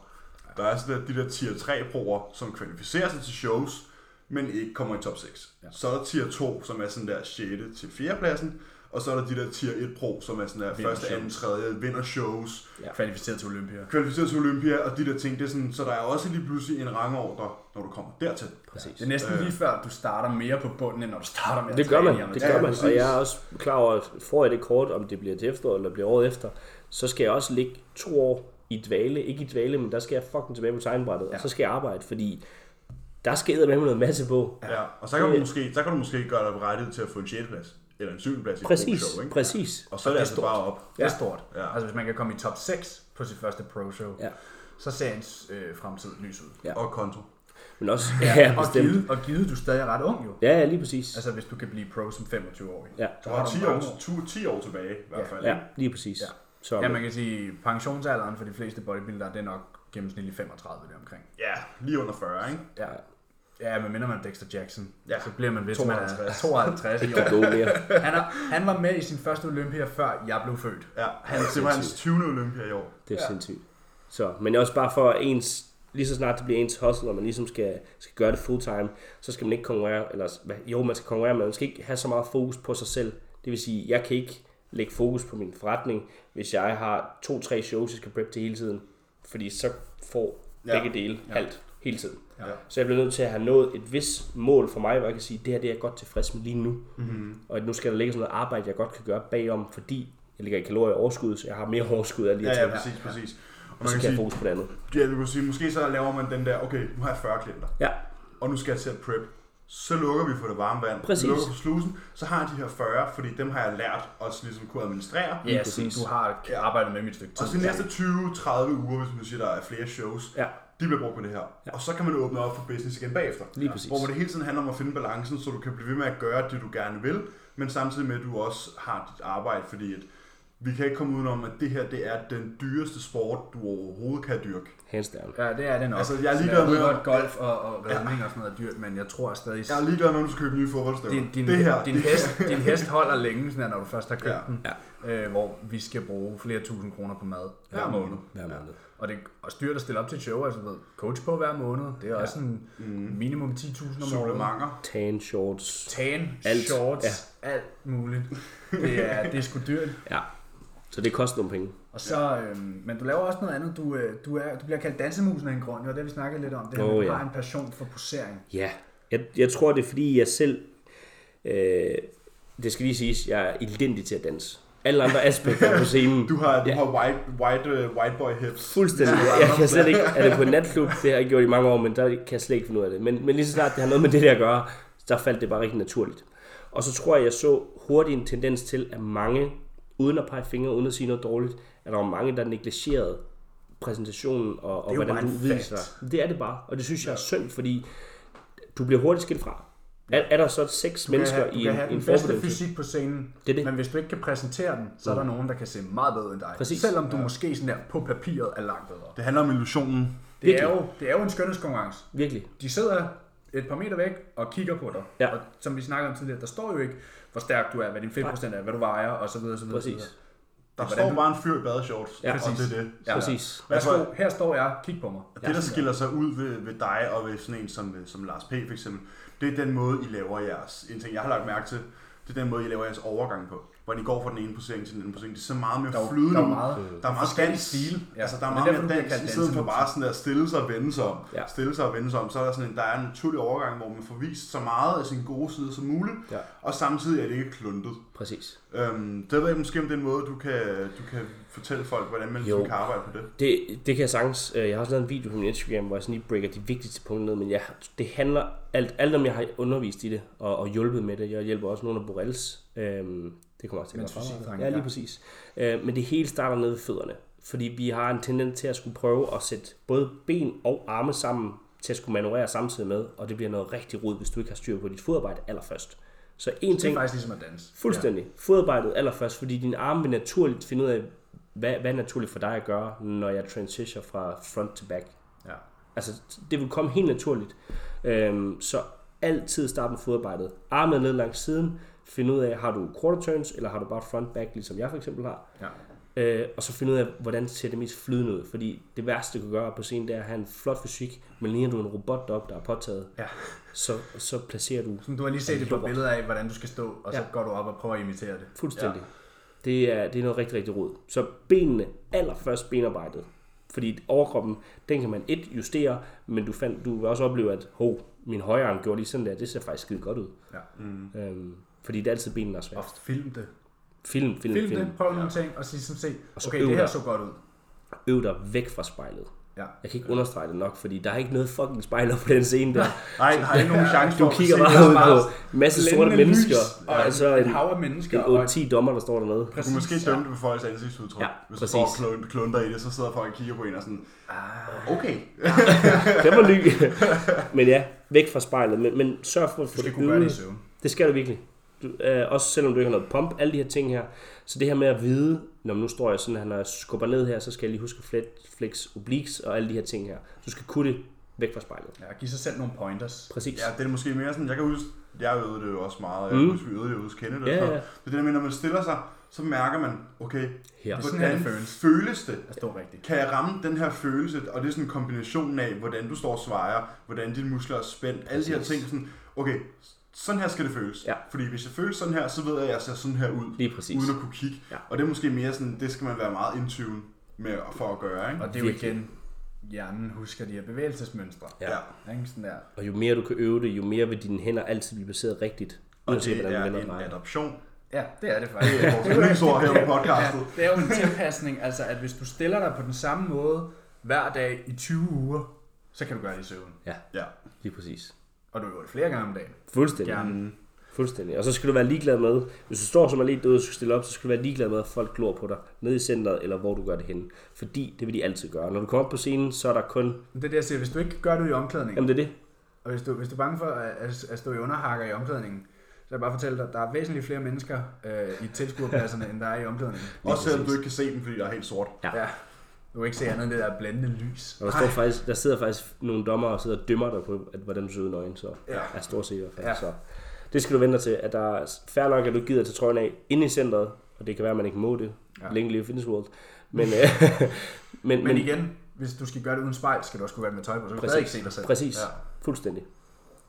S1: Der er sådan der, de der tier 3 proer, som kvalificerer sig til shows, men ikke kommer i top 6. Ja. Så er der tier 2, som er sådan der 6. til 4. pladsen, og så er der de der tier 1 pro, som er sådan der
S2: Vinder
S1: første, anden, tredje, vinder shows,
S3: Ja.
S2: Ja. Kvalificeret til Olympia.
S1: kvalificeret til Olympia og de der ting. Det er sådan, så der er også lige pludselig en rangordre, når du kommer dertil.
S3: Præcis. Øh.
S2: Det er næsten lige før, du starter mere på bunden, end når du starter med
S3: Det
S2: at
S3: gør
S2: træne
S3: man,
S2: i
S3: det
S2: amatør.
S3: gør
S1: Ja,
S3: man.
S1: præcis.
S3: Og jeg er også klar over, at får jeg det kort, om det bliver til efteråret eller bliver året efter, så skal jeg også ligge to år i dvale. Ikke i dvale, men der skal jeg fucking tilbage på tegnbrættet, ja. og så skal jeg arbejde, fordi der skal med noget masse på.
S1: Ja. ja. Og så kan, du måske, så kan du måske gøre dig berettiget til at få en 6. plads, eller en 7. plads i et
S3: Præcis,
S1: pro-show, ikke?
S3: præcis.
S1: Og så er det, det altså bare op.
S2: Det er stort.
S1: Ja.
S2: Ja. Altså hvis man kan komme i top 6 på sit første pro-show,
S3: Ja.
S2: så ser ens øh, fremtid lys ud.
S3: Ja.
S1: Og konto.
S3: Men også, [laughs] ja,
S2: og,
S3: bestemt.
S2: givet, og givet, du er stadig ret ung jo.
S3: Ja, ja, lige præcis.
S2: Altså hvis du kan blive pro som 25-årig.
S3: Ja,
S1: Du har 10
S2: mange
S1: år, 20, 10 år tilbage i hvert fald.
S3: ja
S1: ikke?
S3: lige præcis. Ja. Så,
S2: Ja, man kan sige, pensionsalderen for de fleste bodybuildere, det er nok gennemsnitlig 35 det omkring.
S1: Ja, lige under 40, ikke?
S2: Ja. Ja, men minder man Dexter Jackson,
S1: Ja.
S2: ja. så bliver man vist, man er
S1: 52.
S2: 52 i
S3: der
S2: år.
S3: gå mere.
S2: [laughs] Han, er, han var med i sin første Olympia, før jeg blev født.
S1: Ja, han, det var hans 20. Olympia i år.
S3: Det er ja. sindssygt. Så, men også bare for ens, lige så snart det bliver ens hustle, og man ligesom skal, skal gøre det full time, så skal man ikke konkurrere, eller hvad- jo, man skal konkurrere, men man skal ikke have så meget fokus på sig selv. Det vil sige, jeg kan ikke lægge fokus på min forretning, hvis jeg har to-tre shows, jeg skal prep til hele tiden. Fordi så får
S1: Ja.
S3: begge dele ja. alt hele tiden.
S1: Ja.
S3: Så jeg bliver nødt til at have nået et vis mål for mig, hvor jeg kan sige, det her det er jeg godt tilfreds med lige nu. Mm-hmm. Og at nu skal der ligge sådan noget arbejde, jeg godt kan gøre bagom, fordi jeg ligger i kalorier i overskud, så jeg har mere [laughs] overskud af lige at
S1: Ja,
S3: tage
S1: ja, præcis, præcis. Og
S3: og
S1: man
S3: så
S1: kan
S3: kan jeg
S1: sige,
S3: fokus på det andet.
S1: ja, du kan sige, måske så laver man den der, okay, nu har jeg 40 klienter,
S3: Ja,
S1: og nu skal jeg til at prep. Så lukker vi for det varme vand,
S3: Præcis.
S1: vi lukker for slusen, så har jeg de her 40, fordi dem har jeg lært at ligesom kunne administrere.
S2: Ja,
S3: præcis.
S2: sådan, du har arbejdet med mit stykke tid.
S1: Og så de næste 20-30 uger, hvis man siger, der er flere shows,
S3: Ja.
S1: de bliver brugt på det her. Ja. Og så kan man åbne op for business igen bagefter.
S3: Lige præcis.
S1: Hvor det hele tiden handler om at finde balancen, så du kan blive ved med at gøre det, du gerne vil, men samtidig med, at du også har dit arbejde, fordi at vi kan ikke komme udenom, at det her det er den dyreste sport, du overhovedet kan dyrke.
S3: Hands down.
S2: Ja, det er det nok.
S1: Altså, jeg er
S2: Så
S1: ligeglad
S2: ved
S1: med-
S2: godt, golf og, og redning og sådan noget er dyrt, men jeg tror stadig...
S1: Jeg er ligeglad med, om du skal købe nye fodboldstøvler.
S2: din, din,
S1: det her,
S2: din,
S1: det, [laughs]
S2: hest, din hest holder længe, sådan her, når du først har købt
S1: Ja.
S2: ja. den. Øh, hvor vi skal bruge flere tusind kroner på mad Øhm,
S1: Hver måned.
S3: Hver måned.
S2: Og det og styrt at stille op til et show, altså du ved, coach på hver måned. Det er ja. også en mm. minimum 10.000 om måneden.
S1: Supplementer.
S3: Tan, shorts.
S2: Tan,
S3: Alt.
S2: alt. shorts, ja. alt muligt. Det er, det er sgu dyrt.
S3: Ja. Så det koster nogle penge.
S2: Og så, ja. øhm, men du laver også noget andet. Du, øh, du, er, du bliver kaldt dansemusen af en grund. Jo, det har vi snakket lidt om. Det her,
S3: Åh,
S2: oh, du
S3: ja.
S2: har en passion for posering.
S3: Ja, jeg, jeg tror det er fordi jeg selv, øh, det skal lige siges, jeg er elendig til at danse. Alle andre aspekter på scenen.
S1: Du har, du
S3: Ja.
S1: har white, white, uh, white boy hips.
S3: Fuldstændig. Jeg kan slet ikke, er det på en natklub, det har jeg gjort i mange år, men der kan jeg slet ikke finde ud af det. Men, men lige så snart det har noget med det der at gøre, der faldt det bare rigtig naturligt. Og så tror jeg, jeg så hurtigt en tendens til, at mange, uden at pege fingre, uden at sige noget dårligt, at der var mange, der negligerede præsentationen og, og
S2: jo
S3: hvordan
S2: bare
S3: du
S2: en
S3: viser
S2: fact.
S3: dig. Det er det bare, og det synes jeg er synd, fordi du bliver hurtigt skilt fra. Er, er der så seks
S2: Du kan
S3: mennesker
S2: have, du
S3: i
S2: kan
S3: en,
S2: have
S3: i en
S2: den bedste
S3: forbindelse?
S2: fysik på scenen,
S3: Det er det.
S2: men hvis du ikke kan præsentere den, så er der nogen, der kan se meget bedre end dig.
S3: Præcis.
S2: Selvom du ja. måske sådan der på papiret er langt bedre.
S1: Det handler om illusionen.
S2: Det er, jo, det er jo en skønhedskonkurrence.
S3: Virkelig.
S2: De sidder et par meter væk og kigger på dig.
S3: Ja.
S2: Og som vi snakkede om tidligere, der står jo ikke, hvor stærk du er, hvad din fedtprocent er, hvad du vejer og så videre, så videre.
S3: Præcis.
S2: Så videre.
S1: Der
S2: Hvordan
S1: står
S2: du-
S1: bare en fyr i badeshorts.
S3: Ja.
S1: og
S2: Præcis.
S1: det er det.
S2: Ja.
S3: Præcis.
S2: Værsgo, her står jeg, kig på mig.
S1: Og det, der skiller sig ud ved, ved dig og ved sådan en som, øh, som Lars P. for eksempel, det er den måde, I laver jeres... En ting, jeg har lagt mærke til, det er den måde, I laver jeres overgang på. Hvor I går fra den ene posering til den anden posering. Det er så meget mere
S2: Der er jo-
S1: flydende
S2: der
S1: ud.
S2: er meget-
S1: der er meget
S2: forskellige
S1: dans. Stil.
S2: stile.
S1: Ja.
S2: Ja.
S1: Altså, der er
S2: Men
S1: meget
S2: derfor
S1: mere
S2: bliver
S1: dans, i
S2: kaldt
S1: stedet for
S2: dansemusen.
S1: bare sådan der stille sig og vende sig om.
S3: Ja.
S1: Stille sig og vende sig om. Så er der sådan en, der er en naturlig overgang, hvor man får vist så meget af sin gode side som muligt.
S3: Ja.
S1: Og samtidig er det ikke kluntet.
S3: Præcis.
S1: Øhm, det ved jeg måske om den måde, du kan, du kan fortælle folk, hvordan man
S3: Jo.
S1: ligesom kan arbejde på det.
S3: Det, det kan jeg sagtens. Øh, Jeg har også lavet en video på min Instagram, hvor jeg sådan lige breaker de vigtigste punkter ned, men jeg, det handler alt, alt om jeg har undervist i det og, og hjulpet med det. Jeg hjælper også nogle af Borrells. Øhm, det kommer også til at
S2: Mens
S3: være
S2: fysik,
S3: fremadrettet.
S2: drenge,
S3: Ja, lige
S2: ja.
S3: præcis. Øh, men det hele starter nede ved fødderne, fordi vi har en tendens til at skulle prøve at sætte både ben og arme sammen til at skulle manøvrere samtidig med, og det bliver noget rigtig rod, hvis du ikke har styr på dit fodarbejde allerførst. Så en
S2: Det er
S3: ting,
S2: faktisk ligesom at danse.
S3: Fuldstændig. Ja. Fodarbejdet allerførst, fordi din arm vil naturligt finde ud af, hvad, hvad er naturligt for dig at gøre, når jeg transitioner fra front til back.
S2: Ja.
S3: Altså, det vil komme helt naturligt. Øhm, så altid start med fodarbejdet. Armen ned langs siden. Find ud af, har du quarter turns, eller har du bare front back, ligesom jeg for eksempel har.
S2: Ja.
S3: Øh, og så finde ud af, hvordan ser det mest flydende ud. Fordi det værste, du kan gøre på scenen, det er at have en flot fysik, men ligner du en robot deroppe, der er påtaget,
S2: ja.
S3: så, så placerer du
S2: Som [laughs] du har lige set et par
S3: Jord.
S2: billeder af, hvordan du skal stå, og så
S3: Ja.
S2: ja. går du op og prøver at imitere det.
S3: Fuldstændig. Ja. Det, er, det er noget rigtig, rigtig rod. Så benene, allerførst benarbejdet. Fordi overkroppen, den kan man et justere, men du, fandt, du vil også opleve, at hov, min højre arm gjorde lige sådan der, det ser faktisk skide godt ud.
S2: Ja.
S3: Øhm, fordi det er altid benene, der er
S2: Og
S3: svært.
S2: film det.
S3: Film, film, film.
S2: Film
S3: film.
S2: det, prøv nogle ting, og sige som se,
S3: så
S2: okay,
S3: øv
S2: det her
S3: dig.
S2: så godt ud.
S3: Øv dig væk fra spejlet.
S2: Ja.
S3: Jeg kan ikke understrege det nok, fordi der er ikke noget fucking spejl op på den scene der.
S1: Nej, der er [laughs] ikke nogen chance for
S3: Du
S1: at
S3: kigger
S1: se
S3: bare
S1: det.
S3: ud
S2: bare
S3: på en masse sorte
S2: Blændende lys,
S3: mennesker, og,
S2: og
S3: og så
S2: et
S3: en,
S2: hav af mennesker, og et-
S3: en 8-10 dommer, der står dernede.
S1: Du kan måske dømme det på folks ansigtsudtryk.
S3: Ja,
S1: Hvis du
S3: præcis.
S1: står og klun- klunter i det, så sidder folk og kigger på en og sådan,
S3: Ah,
S1: okay.
S3: Den var ny. [laughs] men ja, væk fra spejlet. Men, men sørg for at få
S2: Du skal
S3: det
S2: kunne gøre det i
S3: øvet.
S2: søvn.
S3: Det skal du virkelig. Du, øh, også selvom du ikke har noget pump, alle de her ting her. Så det her med at vide, når nu står jeg sådan her, når jeg skubber ned her, så skal jeg lige huske flet, flex, obliques og alle de her ting her. Du skal kunne det væk fra spejlet.
S2: Ja, giv sig selv nogle pointers.
S3: Præcis.
S1: Ja, det er måske mere sådan, jeg kan huske, jeg øvede det jo også meget, og jeg kan huske, vi øvede det jo hos Kenneth. og
S3: Mm. Ja,
S1: sådan noget.
S3: ja.
S1: Det er det der med, når man stiller sig, så mærker man, okay,
S3: Her.
S2: Det er sådan her,
S1: hvordan
S2: det føles.
S1: føles det?
S2: At stå rigtigt.
S1: Kan jeg ramme den her følelse? Og det er sådan en kombination af, hvordan du står og svejer, hvordan dine muskler er spændt, alle de her ting. Sådan, okay, sådan her skal det føles.
S3: Ja.
S1: Fordi hvis jeg føles sådan her, så ved jeg, at jeg ser sådan her ud.
S3: Lige præcis.
S1: Uden at kunne kigge.
S3: Ja.
S1: Og det er måske mere sådan, det skal man være meget in tune med for at gøre, ikke?
S2: Og det er jo
S3: Virkelig.
S2: igen, hjernen husker de her bevægelsesmønstre.
S3: Ja.
S2: Ikke? Sådan der.
S3: Og jo mere du kan øve det, jo mere vil dine hænder altid blive placeret rigtigt.
S1: Og
S3: Uanset
S1: det
S3: hvordan
S1: er
S3: du vender og
S1: en
S3: drejer.
S1: adoption.
S2: Ja, det er det faktisk.
S1: Det er
S3: [laughs]
S1: vores yndlingsord her på podcastet.
S2: Det er jo en tilpasning, altså at hvis du stiller dig på den samme måde hver dag i 20 uger, så kan du gøre det i søvn.
S3: Ja,
S1: Ja.
S3: lige præcis.
S2: Og du gør det flere gange om dagen.
S3: Fuldstændig.
S2: Gerne.
S3: Fuldstændig. Og så skal du være ligeglad med, hvis du står som er lidt død og skal stille op, så skal du være ligeglad med, at folk glor på dig, nede i centret, eller hvor du gør det henne. Fordi det vil de altid gøre. Når du kommer op på scenen, så er der kun...
S2: Men Det er det, jeg siger. Hvis du ikke gør det i omklædningen,
S3: Jamen det er det.
S2: og hvis du, hvis du er bange for at, at, at stå i underhakker i omklædningen, jeg bare fortælle dig, at der er væsentligt flere mennesker øh, i tilskuerpladserne, end der er i omklædningen.
S1: Også selvom du ikke kan se dem, fordi der er helt sort.
S2: Ja. Du kan ikke se andet end det der blændende lys.
S3: Og der, står faktisk, der sidder faktisk nogle dommer og sidder og dømmer dig på, at, hvordan du ser ud nøgen, så ja. er stort set i hvert fald. Ja. Så det skal du vente dig til, at der er fair nok, at du gider til trøjen af inde i centret, og det kan være, at man ikke må det. Ja. Længe leve fitness world. Men, men, [laughs] men,
S2: Men igen, hvis du skal gøre det uden spejl, skal du også kunne være med tøj på, så kan du stadig ikke se dig selv.
S3: Præcis.
S2: Ja.
S3: Ja. Fuldstændig.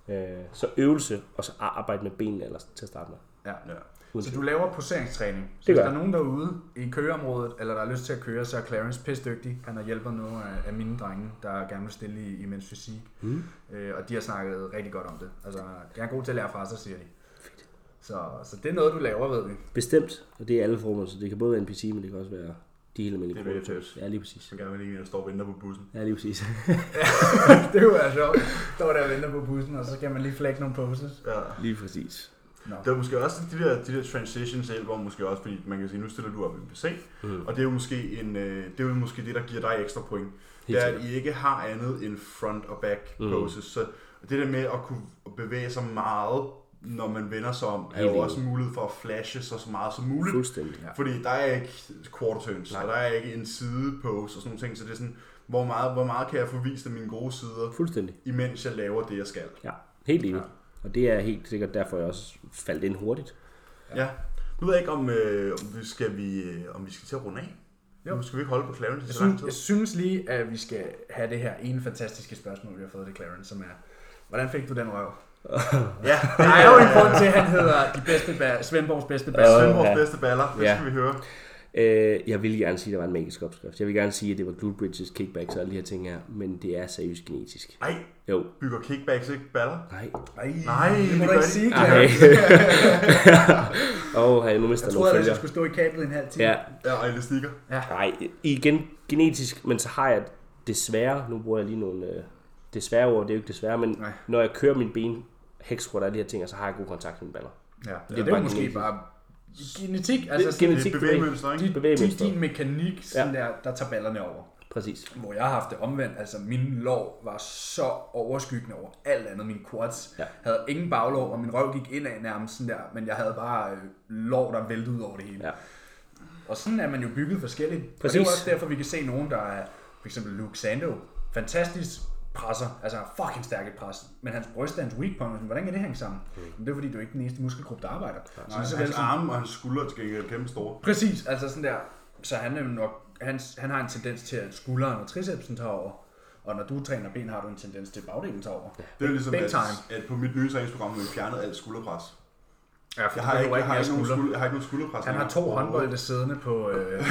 S3: Øh, så øvelse, og så ar- arbejde med benene ellers til at starte med.
S2: Ja.
S1: Ja.
S2: Så du laver poseringstræning. Så
S3: Det
S2: hvis
S3: gør
S2: der er
S3: jeg.
S2: nogen derude i køreområdet, eller der har lyst til at køre, så er Clarence pisdygtig. Han har hjulpet nogle af, af mine drenge, der gerne vil stille i, i mens fysik. Mm. Øh, og de har snakket rigtig godt om det. Altså, jeg er god til at lære fra sig, siger de. Så, så det er noget, du laver, ved vi. [laughs]
S3: Bestemt, og det er alle former, så det kan både være NPC, men det kan også være de helt almindelige
S1: Det er
S3: prototypes.
S1: VHS.
S3: Ja, lige præcis.
S1: Så gerne vil lige, at jeg står og venter på bussen.
S3: Ja, lige præcis.
S2: det kunne være sjovt. Står der og venter på bussen, og så kan man lige flække nogle poses.
S1: Ja.
S3: lige præcis.
S1: Det er måske også de der, de der transitions hjælper måske også, fordi man kan sige, nu stiller du op i PC,
S3: Mm.
S1: og det er jo måske, en, øh, det, er jo måske det, der giver dig ekstra point. Det er, at I ikke har andet end front og back
S3: Mm.
S1: poses. Så det der med at kunne bevæge sig meget, når man vender sig om, er
S3: Helt
S1: jo
S3: enig.
S1: også en mulighed for at flashe sig så meget som muligt.
S3: Fuldstændig.
S2: Ja.
S1: Fordi der er ikke quarter turns, og der er ikke en side pose og sådan nogle ting, så det er sådan, hvor meget, hvor meget kan jeg få vist af mine gode sider,
S3: Fuldstændig.
S1: imens jeg laver det, jeg skal.
S3: Ja, helt enig. Ja. Og det er helt sikkert derfor, jeg også faldt ind hurtigt.
S1: Ja. ja. Nu ved jeg ikke, om, øh, om, vi skal vi, øh, om vi skal til at runde af.
S2: Jo.
S1: Jo. Nu skal vi ikke holde på Clarence i
S2: Jeg
S1: så lang
S2: synes,
S1: tid.
S2: jeg synes lige, at vi skal have det her ene fantastiske spørgsmål, vi har fået til Clarence, som er, hvordan fik du den
S3: [laughs]
S2: røv?
S1: Ja,
S2: Der er jo en grund til, at han hedder de bedste ba- Svendborgs bedste baller.
S1: Svend vores
S3: Ja.
S1: bedste baller, det
S3: Ja.
S1: skal vi høre.
S3: Øh, jeg vil gerne sige, at der var en magisk opskrift. Jeg vil gerne sige, at det var glute bridges, kickbacks og alle de her ting her, men det er seriøst genetisk.
S1: Ej,
S3: Jo,
S1: bygger kickbacks ikke baller?
S3: nej.
S2: Nej,
S1: Nej,
S2: det må
S1: det
S2: du
S1: gør
S2: ikke
S1: de.
S2: sige,
S3: [laughs] Nej.
S2: Clarence.
S3: Åh, oh, nu mister
S2: Jeg troede,
S3: jeg nogle
S2: at jeg
S3: følger.
S2: skulle stå i kablet i en halv time.
S3: Ja,
S1: Ja, og elastikker.
S3: Nej, igen genetisk, men så har jeg desværre, nu bruger jeg lige nogle øh, desværre ord, det er jo ikke desværre, men
S2: Nej.
S3: Nej. når jeg kører min ben, hexquat og alle de her ting, og så har jeg god kontakt med mine baller.
S2: ja.
S3: Det
S2: ja
S3: er
S2: det er jo
S3: bare
S2: måske
S3: genetisk.
S2: bare genetik. Altså,
S3: Det er
S1: Det
S2: sådan,
S3: Genetik,
S1: er
S3: du ved.
S1: bevægemønster, ikke?
S2: din, din,
S3: bevægemønster.
S2: din mekanik, sådan der, der tager ballerne over.
S3: Præcis.
S2: Hvor jeg har haft det omvendt, altså min lov var så overskyggende over alt andet. Min quads ja.
S3: Ja.
S2: havde ingen baglov, og min røv gik indad nærmest sådan der, men jeg havde bare øh, lov, der væltede ud over det hele.
S3: Ja.
S2: Og sådan er man jo bygget forskelligt. Præcis. Og det
S3: Præcis.
S2: er jo også derfor, vi kan se nogen, der er for eksempel Luke Sando. Fantastisk presser, altså har fucking stærk et pres, men hans bryst er hans weak point, sådan, hvordan kan det hænge sammen?
S3: Hmm.
S2: Men det er fordi, du er ikke den eneste muskelgruppe, der arbejder. Så lige
S1: Så
S2: så vel
S1: hans
S2: som
S1: arme og hans skuldre er til gengæld kæmpe store.
S2: Præcis, altså sådan der. Så han, er jo nok, han, han har en tendens til, at skulderen og tricepsen tager over. Og når du træner ben, har du en tendens til, at bagdelen tager over.
S1: Det er jo ligesom,
S2: Big
S1: at,
S2: time.
S1: at på mit nye træningsprogram har vi fjernet alt skulderpres.
S2: Ja, for
S1: Jeg har, ikke, jeg, har ikke nogen skulder, jeg har ikke nogen skulderpres.
S2: Han har
S1: længere.
S2: to håndbolde siddende på, øh,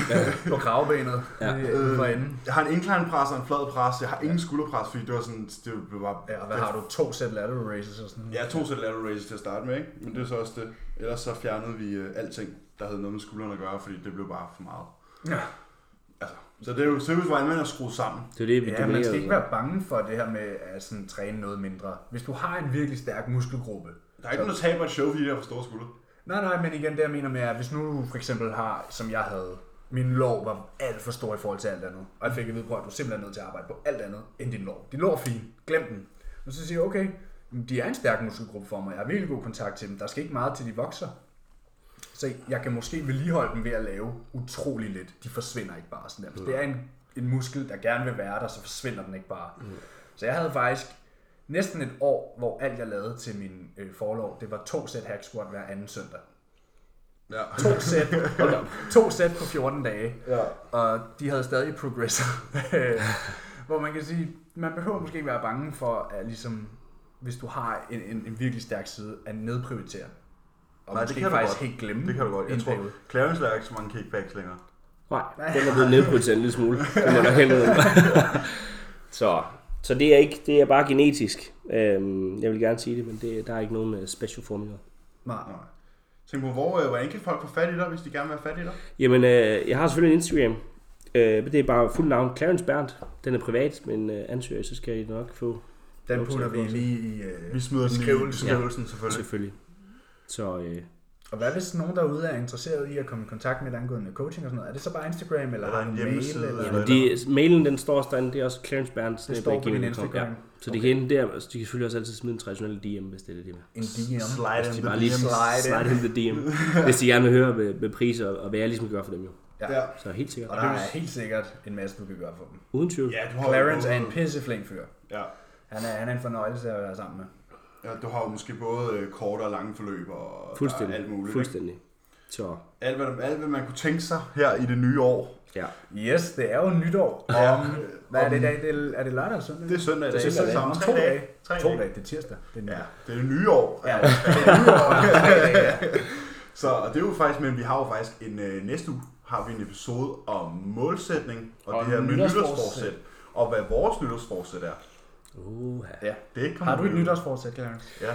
S2: på kravebenet ja.
S3: Ja.
S2: øh, for enden.
S1: Jeg har en incline pres og en flad pres. Jeg har ingen skulderpres, fordi det var sådan... Det blev bare...
S2: Ja, og hvad har du? To sæt lateral raises og sådan noget.
S1: Jeg har to sæt lateral raises til at starte med, ikke? Men det er så også det. Ellers så fjernede vi øh, alting, der havde noget med skuldrene at gøre, fordi det blev bare for meget.
S2: Ja.
S1: Altså, så det er jo seriøst, hvordan man er skruet sammen.
S3: Det er jo det, vi
S2: Ja, man skal ikke
S3: dominerer.
S2: være bange for det her med at sådan, træne noget mindre. Hvis du har en virkelig stærk muskelgruppe,
S1: Der er ikke nogen, der taber et show, fordi de har for store skuldre.
S2: Nej, nej, men igen, det jeg mener med, at hvis nu du for eksempel har, som jeg havde, min lov var alt for stor i forhold til alt andet. Og jeg fik at vide, prøv at du er simpelthen nødt til at arbejde på alt andet end din lov. Din lov er fin. Glem den. Og så siger jeg, okay, jamen, de er en stærk muskelgruppe for mig. Jeg har virkelig god kontakt til dem. Der skal ikke meget til, de vokser. Så jeg kan måske vedligeholde dem ved at lave utrolig lidt. De forsvinder ikke bare sådan der. Hvis det er en, en muskel, der gerne vil være der, så forsvinder den ikke bare. Så jeg havde faktisk næsten et år, hvor alt jeg lavede til min øh, forlov, det var to sæt hack squat hver anden søndag.
S1: Ja.
S2: To sæt, hold op, to sæt på 14 dage,
S1: ja.
S2: og de havde stadig progressor. [laughs] hvor man kan sige, man behøver måske ikke være bange for, at ligesom, hvis du har en, en, en virkelig stærk side, at nedprioritere. Og
S1: Nej, det
S2: måske
S1: kan du
S2: faktisk
S1: godt.
S2: helt
S1: [laughs]
S2: glemme
S1: Det kan du godt. Jeg
S2: en
S1: tror,
S2: periode.
S1: Clarence laver ikke så mange kickbacks længere.
S3: Nej, den er blevet nedprioriteret en lille
S2: [laughs]
S3: smule. Det må jeg nok hellere. [laughs] så, så det er ikke, det er bare genetisk. Øhm, jeg vil gerne sige det, men det, der er ikke nogen øh, special formula.
S2: Nej.
S1: Nej. Tænk på, hvor, øh, hvordan kan folk få fat i dig, hvis de gerne vil have fat i dig?
S3: Jamen, øh, jeg har selvfølgelig en Instagram. Øh, men det er bare fuld navn Clarence Berndt. Den er privat, men øh, ansøger I, så skal I nok få
S2: Den putter vi lige i øh,
S1: Vi smider den i
S2: beskrivelsen.
S1: beskrivelsen, selvfølgelig.
S3: Selvfølgelig. Så øh,
S2: Og hvad hvis nogen derude er interesseret i at komme i kontakt med dig angående coaching og sådan noget? Er det så bare Instagram, eller
S1: Eller
S2: har du
S1: en
S2: en
S1: hjemmeside,
S2: mail? Eller?
S1: eller-
S2: Eller?
S3: Jamen, det, mailen den står også derinde, det er også Clarence Berns.
S2: Det står på din Instagram.
S3: Så de kan enten der, så de kan selvfølgelig også altid smide en traditionel DM, hvis det er det, de vil.
S2: En DM.
S1: Slide
S3: Hvis
S1: in
S3: de
S1: the
S3: bare lige
S1: DM's.
S2: slide
S3: slide in the DM. hvis de gerne vil høre med, med priser, og hvad jeg ligesom gør for dem jo.
S1: Ja.
S3: Så helt sikkert.
S2: Og der er helt sikkert en masse, du kan gøre for dem.
S3: Uden tvivl.
S1: ja, du har jo
S2: Clarence er en
S1: både-
S2: pisseflink fyr.
S1: Ja.
S2: Han er, han er en fornøjelse at være sammen med.
S1: Ja, du har jo måske både øh, korte og lange forløb og
S3: Fuldstændig.
S1: der er alt muligt. ikke?
S3: Fuldstændig. Så
S1: Alt hvad, alt hvad man kunne tænke sig her i det nye år.
S3: ja.
S2: Yes, det er jo nytår.
S1: Ja.
S2: Om, hvad er det i dag? Det er, er det lørdag eller søndag?
S1: Det er søndag i dag.
S2: Det er søndag i dag.
S1: Om
S2: Om
S1: tre
S2: to
S1: dage.
S2: dage.
S1: Tre
S2: To dage, det er tirsdag. Det er
S1: Ja,
S2: nytår.
S1: det er det nye år.
S2: Ja.
S1: Ja.
S2: [laughs]
S1: Så og det er jo faktisk, men vi har jo faktisk en øh, næste uge har vi en episode om målsætning og, og
S2: Og
S1: det her med
S2: nytårsforsæt.
S1: nytårsforsæt. Og hvad vores nytårsforsæt er.
S3: Uha.
S1: Det kommer
S2: Har du
S1: vi
S2: et
S1: jo-
S2: nytårsforsæt, Clarence?
S1: Ja.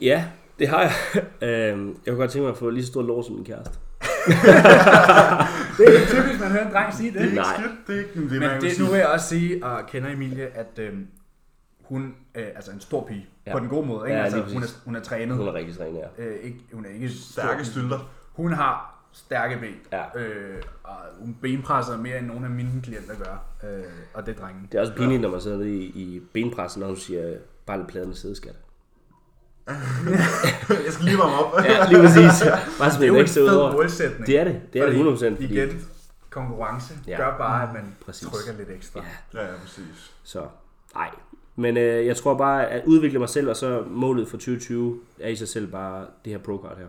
S3: Ja, det har jeg. [laughs] Øhm, jeg kunne godt tænke mig at få lige så stor lov som min kæreste.
S2: Det er ikke typisk, man hører en dreng sige
S1: Det er
S2: det.
S1: ikke
S3: Nej.
S1: skidt. Det er ikke det, man
S2: Men
S1: kan
S2: det,
S1: sige.
S2: nu vil jeg også sige, og kender Emilie, at øhm, hun øh, altså en stor pige.
S3: Ja.
S2: På den gode måde. Ikke?
S3: Ja,
S2: altså,
S3: lige
S2: hun, er,
S3: præcis.
S2: hun er trænet.
S3: Hun er rigtig trænet, ja.
S2: Øh, ikke, hun er ikke stor.
S1: Stærke stylter. [laughs]
S2: Hun har stærke ben.
S3: Ja.
S2: Øh, og hun benpresser mere end nogen af mine klienter gør. Øh, og det er drengen.
S3: Det er også pinligt, når man sidder nede i, i benpressen, når hun siger, bare lidt pladen med sædeskat.
S1: Jeg skal lige varme op.
S3: Ja, [laughs] lige præcis. Bare
S2: Det er
S3: smid
S2: jo
S3: det
S2: en
S3: ekstra ud
S2: fed
S3: over.
S2: målsætning.
S3: Det er det. Det er det 100%. Fordi,
S2: Igen, konkurrence
S3: Ja.
S2: ja. gør bare, at man
S3: Præcis.
S2: Præcis. trykker lidt ekstra.
S3: Ja,
S1: Ja, ja, præcis.
S3: så nej. Men øh, jeg tror bare, at udvikle mig selv, og så målet for 2020 er i sig selv bare det her procard her.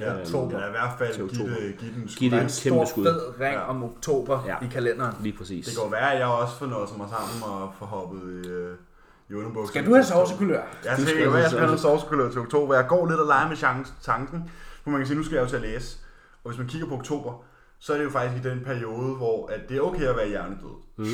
S1: Ja,
S3: Øhm,
S1: oktober. Ja, i hvert fald
S3: Til
S1: give
S3: oktober.
S1: det, give den skud.
S3: Giv det
S2: Der er
S3: en
S2: en stor,
S3: kæmpe skud.
S2: fed ring
S1: Ja.
S2: ja. om oktober
S3: Ja.
S2: ja. i kalenderen.
S3: Lige præcis.
S1: Det kan jo være, at jeg også får noget som mig sammen og får hoppet i, øh, i underbukserne.
S2: Skal du have sovsekulør?
S1: Jeg
S3: Du skal
S2: altså
S1: tænker, at jeg
S3: have
S1: skal have noget
S3: sovs.
S1: sovsekulør til oktober. Jeg går lidt og leger med chancen, tanken, for man kan sige, nu skal jeg jo til at læse. Og hvis man kigger på oktober, så er det jo faktisk i den periode, hvor at det er okay at være hjernedød. Mm.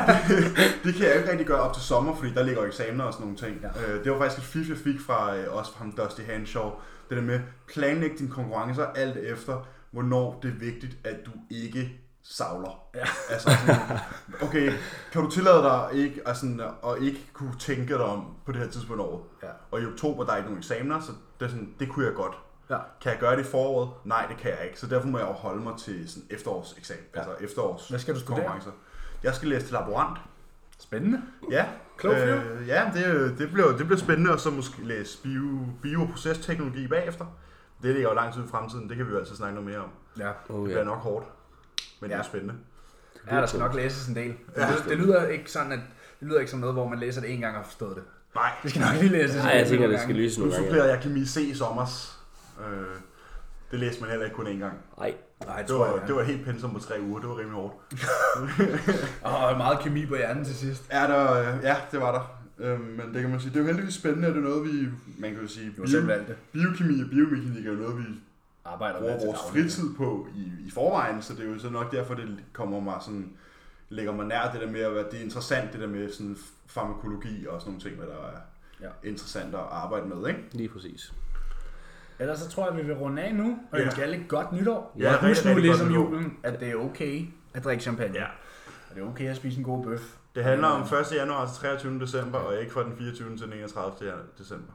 S1: [laughs] det kan jeg jo ikke rigtig gøre op til sommer, fordi der ligger jo eksamener og sådan nogle ting. Ja. Øh, det var faktisk et fif, jeg fik fra øh, også fra ham Dusty Hanshaw. Det der med, planlæg dine konkurrencer alt efter, hvornår det er vigtigt, at du ikke savler. Ja. [laughs] Altså sådan, okay, kan du tillade dig ikke, at sådan, at ikke kunne tænke dig om på det her tidspunkt over?
S2: Ja.
S1: Og i oktober, der er ikke nogen eksamener, så det, er sådan, det kunne jeg godt.
S2: Ja.
S1: Kan jeg gøre det i foråret? Nej, det kan jeg ikke. Så derfor må jeg jo holde mig til sådan efterårseksamen, ja. altså efterårs
S2: Hvad skal du studere?
S1: konkurrencer. Jeg skal læse til laborant.
S2: Spændende.
S1: Ja.
S2: Klog fyr.
S1: øh, ja, det, det, bliver, det bliver spændende, og så måske læse bio, bioprocesteknologi bagefter. Det ligger jo lang tid i fremtiden, det kan vi jo altid snakke noget mere om.
S2: Ja.
S3: Oh,
S1: Det
S3: ja.
S1: bliver nok hårdt, men ja. det
S2: Ja.
S1: er spændende.
S2: ja, der skal nok læses en del. Ja. Det, det, lyder ikke sådan, at det lyder ikke som noget, hvor man læser det en gang og har forstået det.
S1: Nej,
S2: Det skal nok lige læses.
S3: Nej, jeg tænker, det skal lyse
S1: nu
S3: nogle gange.
S1: supplerer jeg kemi C i sommers. Øh, det læste man heller ikke kun én gang.
S3: Nej,
S2: Nej, det
S1: Det
S2: tror
S1: var,
S2: jeg.
S1: det var helt pensum på tre uger, det var rimelig hårdt.
S2: Og meget kemi på hjernen til sidst.
S1: Ja, der, øh, ja det var der. Øhm, men det kan man sige, det er jo heldigvis spændende, at det er noget, vi, man kan jo sige,
S2: Du har selv
S1: bio,
S2: valgt det.
S1: biokemi og biomekanik er jo noget, vi
S2: Arbejder
S1: bruger
S2: med til
S1: vores
S2: daglig.
S1: fritid på i, i forvejen, så det er jo så nok derfor, det kommer mig sådan, lægger mig nær det der med, at være- det er interessant, det der med sådan farmakologi og sådan nogle ting, hvad der er
S2: Ja.
S1: interessant at arbejde med, ikke?
S3: lige præcis.
S2: Ellers så tror jeg, vi vil runde af nu, og
S1: Ja.
S2: ønske alle et godt nytår.
S1: Ja,
S2: og husk
S1: rigtig,
S2: nu
S1: rigtig
S2: ligesom
S1: godt nytår.
S2: julen, at det er okay at drikke champagne.
S1: Ja.
S2: Og det er okay at spise en god bøf.
S1: Det handler om 1. januar til 23. december, og ikke fra den 24. til den 31. december.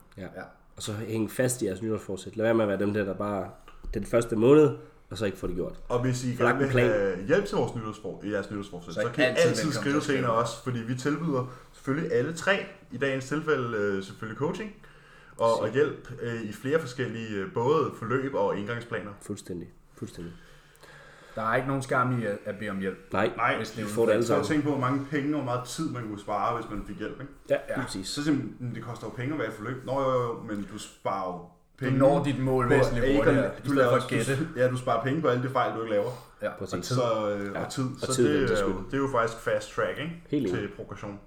S3: Og så hæng fast i jeres nytårsforsæt. Lad være med at være dem der, der bare den første måned, og så ikke får det gjort.
S1: Og hvis I
S3: Flak
S1: gerne vil
S3: en plan.
S1: have hjælp til vores nytårsfor, jeres nytårsforsæt, så,
S2: Så
S1: så
S2: I
S1: kan I
S2: altid
S1: altid
S2: velkommen
S1: skrive
S2: til at
S1: til en af
S2: skrive.
S1: os, fordi vi tilbyder selvfølgelig alle tre, i dagens tilfælde øh, selvfølgelig coaching, og, og hjælp øh, i flere forskellige øh, både forløb og indgangsplaner.
S3: Fuldstændig. Fuldstændig.
S2: Der er ikke nogen skam i at, at bede om hjælp.
S3: Nej,
S1: Nej,
S2: Hvis det er
S3: vi får det alle
S1: Så jeg
S3: sammen.
S1: tænker på, hvor mange penge og hvor meget tid man kunne spare, hvis man fik hjælp. Ikke?
S3: Ja, lige præcis.
S1: Så simpelthen, det koster jo penge at være i forløb. Nå jo, jo, jo, men du sparer jo
S2: Du
S1: penge.
S2: når dit mål
S1: på
S2: væsentligt
S1: ikke at-
S2: hurtigere, i
S1: du,
S2: stedet for
S1: laver,
S2: at gætte.
S1: du, ja, du sparer penge på alle de fejl, du ikke laver.
S2: Ja.
S3: Præcis.
S2: Og tid.
S1: Så, øh,
S3: Ja,
S1: og tid.
S3: og
S1: Så
S3: tid,
S1: det,
S3: det
S1: er jo,
S3: skulle.
S1: det er jo faktisk fast track ikke?
S3: Helt enig.
S1: til progression.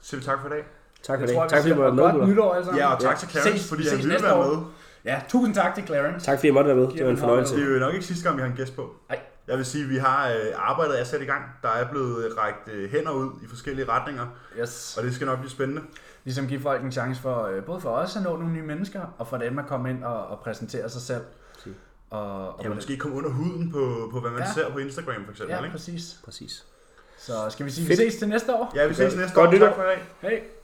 S1: Så siger vi tak for i dag.
S3: Tak for
S2: Jeg
S3: det.
S2: tror,
S3: Tak fordi
S2: vi
S3: du
S2: skal have
S3: måtte
S2: godt
S3: med. Gunnar.
S2: nytår alle sammen.
S1: Ja, og tak til Clarence,
S2: Ses-
S1: fordi
S2: vi
S1: han
S2: ses
S1: ville
S2: næste
S1: være
S2: år.
S1: med.
S2: Ja, tusind tak til Clarence.
S3: Tak fordi jeg måtte være med. Det var en fornøjelse.
S1: Det er jo nok ikke sidste gang, vi har en gæst på.
S2: Nej.
S1: Jeg vil sige, at vi har øh, arbejdet er sat i gang. Der er blevet øh, rækket øh, hænder ud i forskellige retninger,
S2: Yes.
S1: og det skal nok blive spændende.
S2: Ligesom give folk en chance for, øh, både for os at nå nogle nye mennesker, og for dem at komme ind og, og præsentere sig selv.
S3: Præcis.
S2: Og, og
S1: Ja, måske komme under huden på, på hvad man ja.
S2: Ja.
S1: ser på Instagram for eksempel.
S2: ja,
S1: ikke?
S2: præcis.
S3: Præcis.
S2: Så skal vi sige, at vi
S3: Fedt.
S2: ses til næste år.
S1: Ja, vi ses næste
S3: Godt
S1: år.
S3: nytår.
S1: Tak for i dag.
S2: Hej.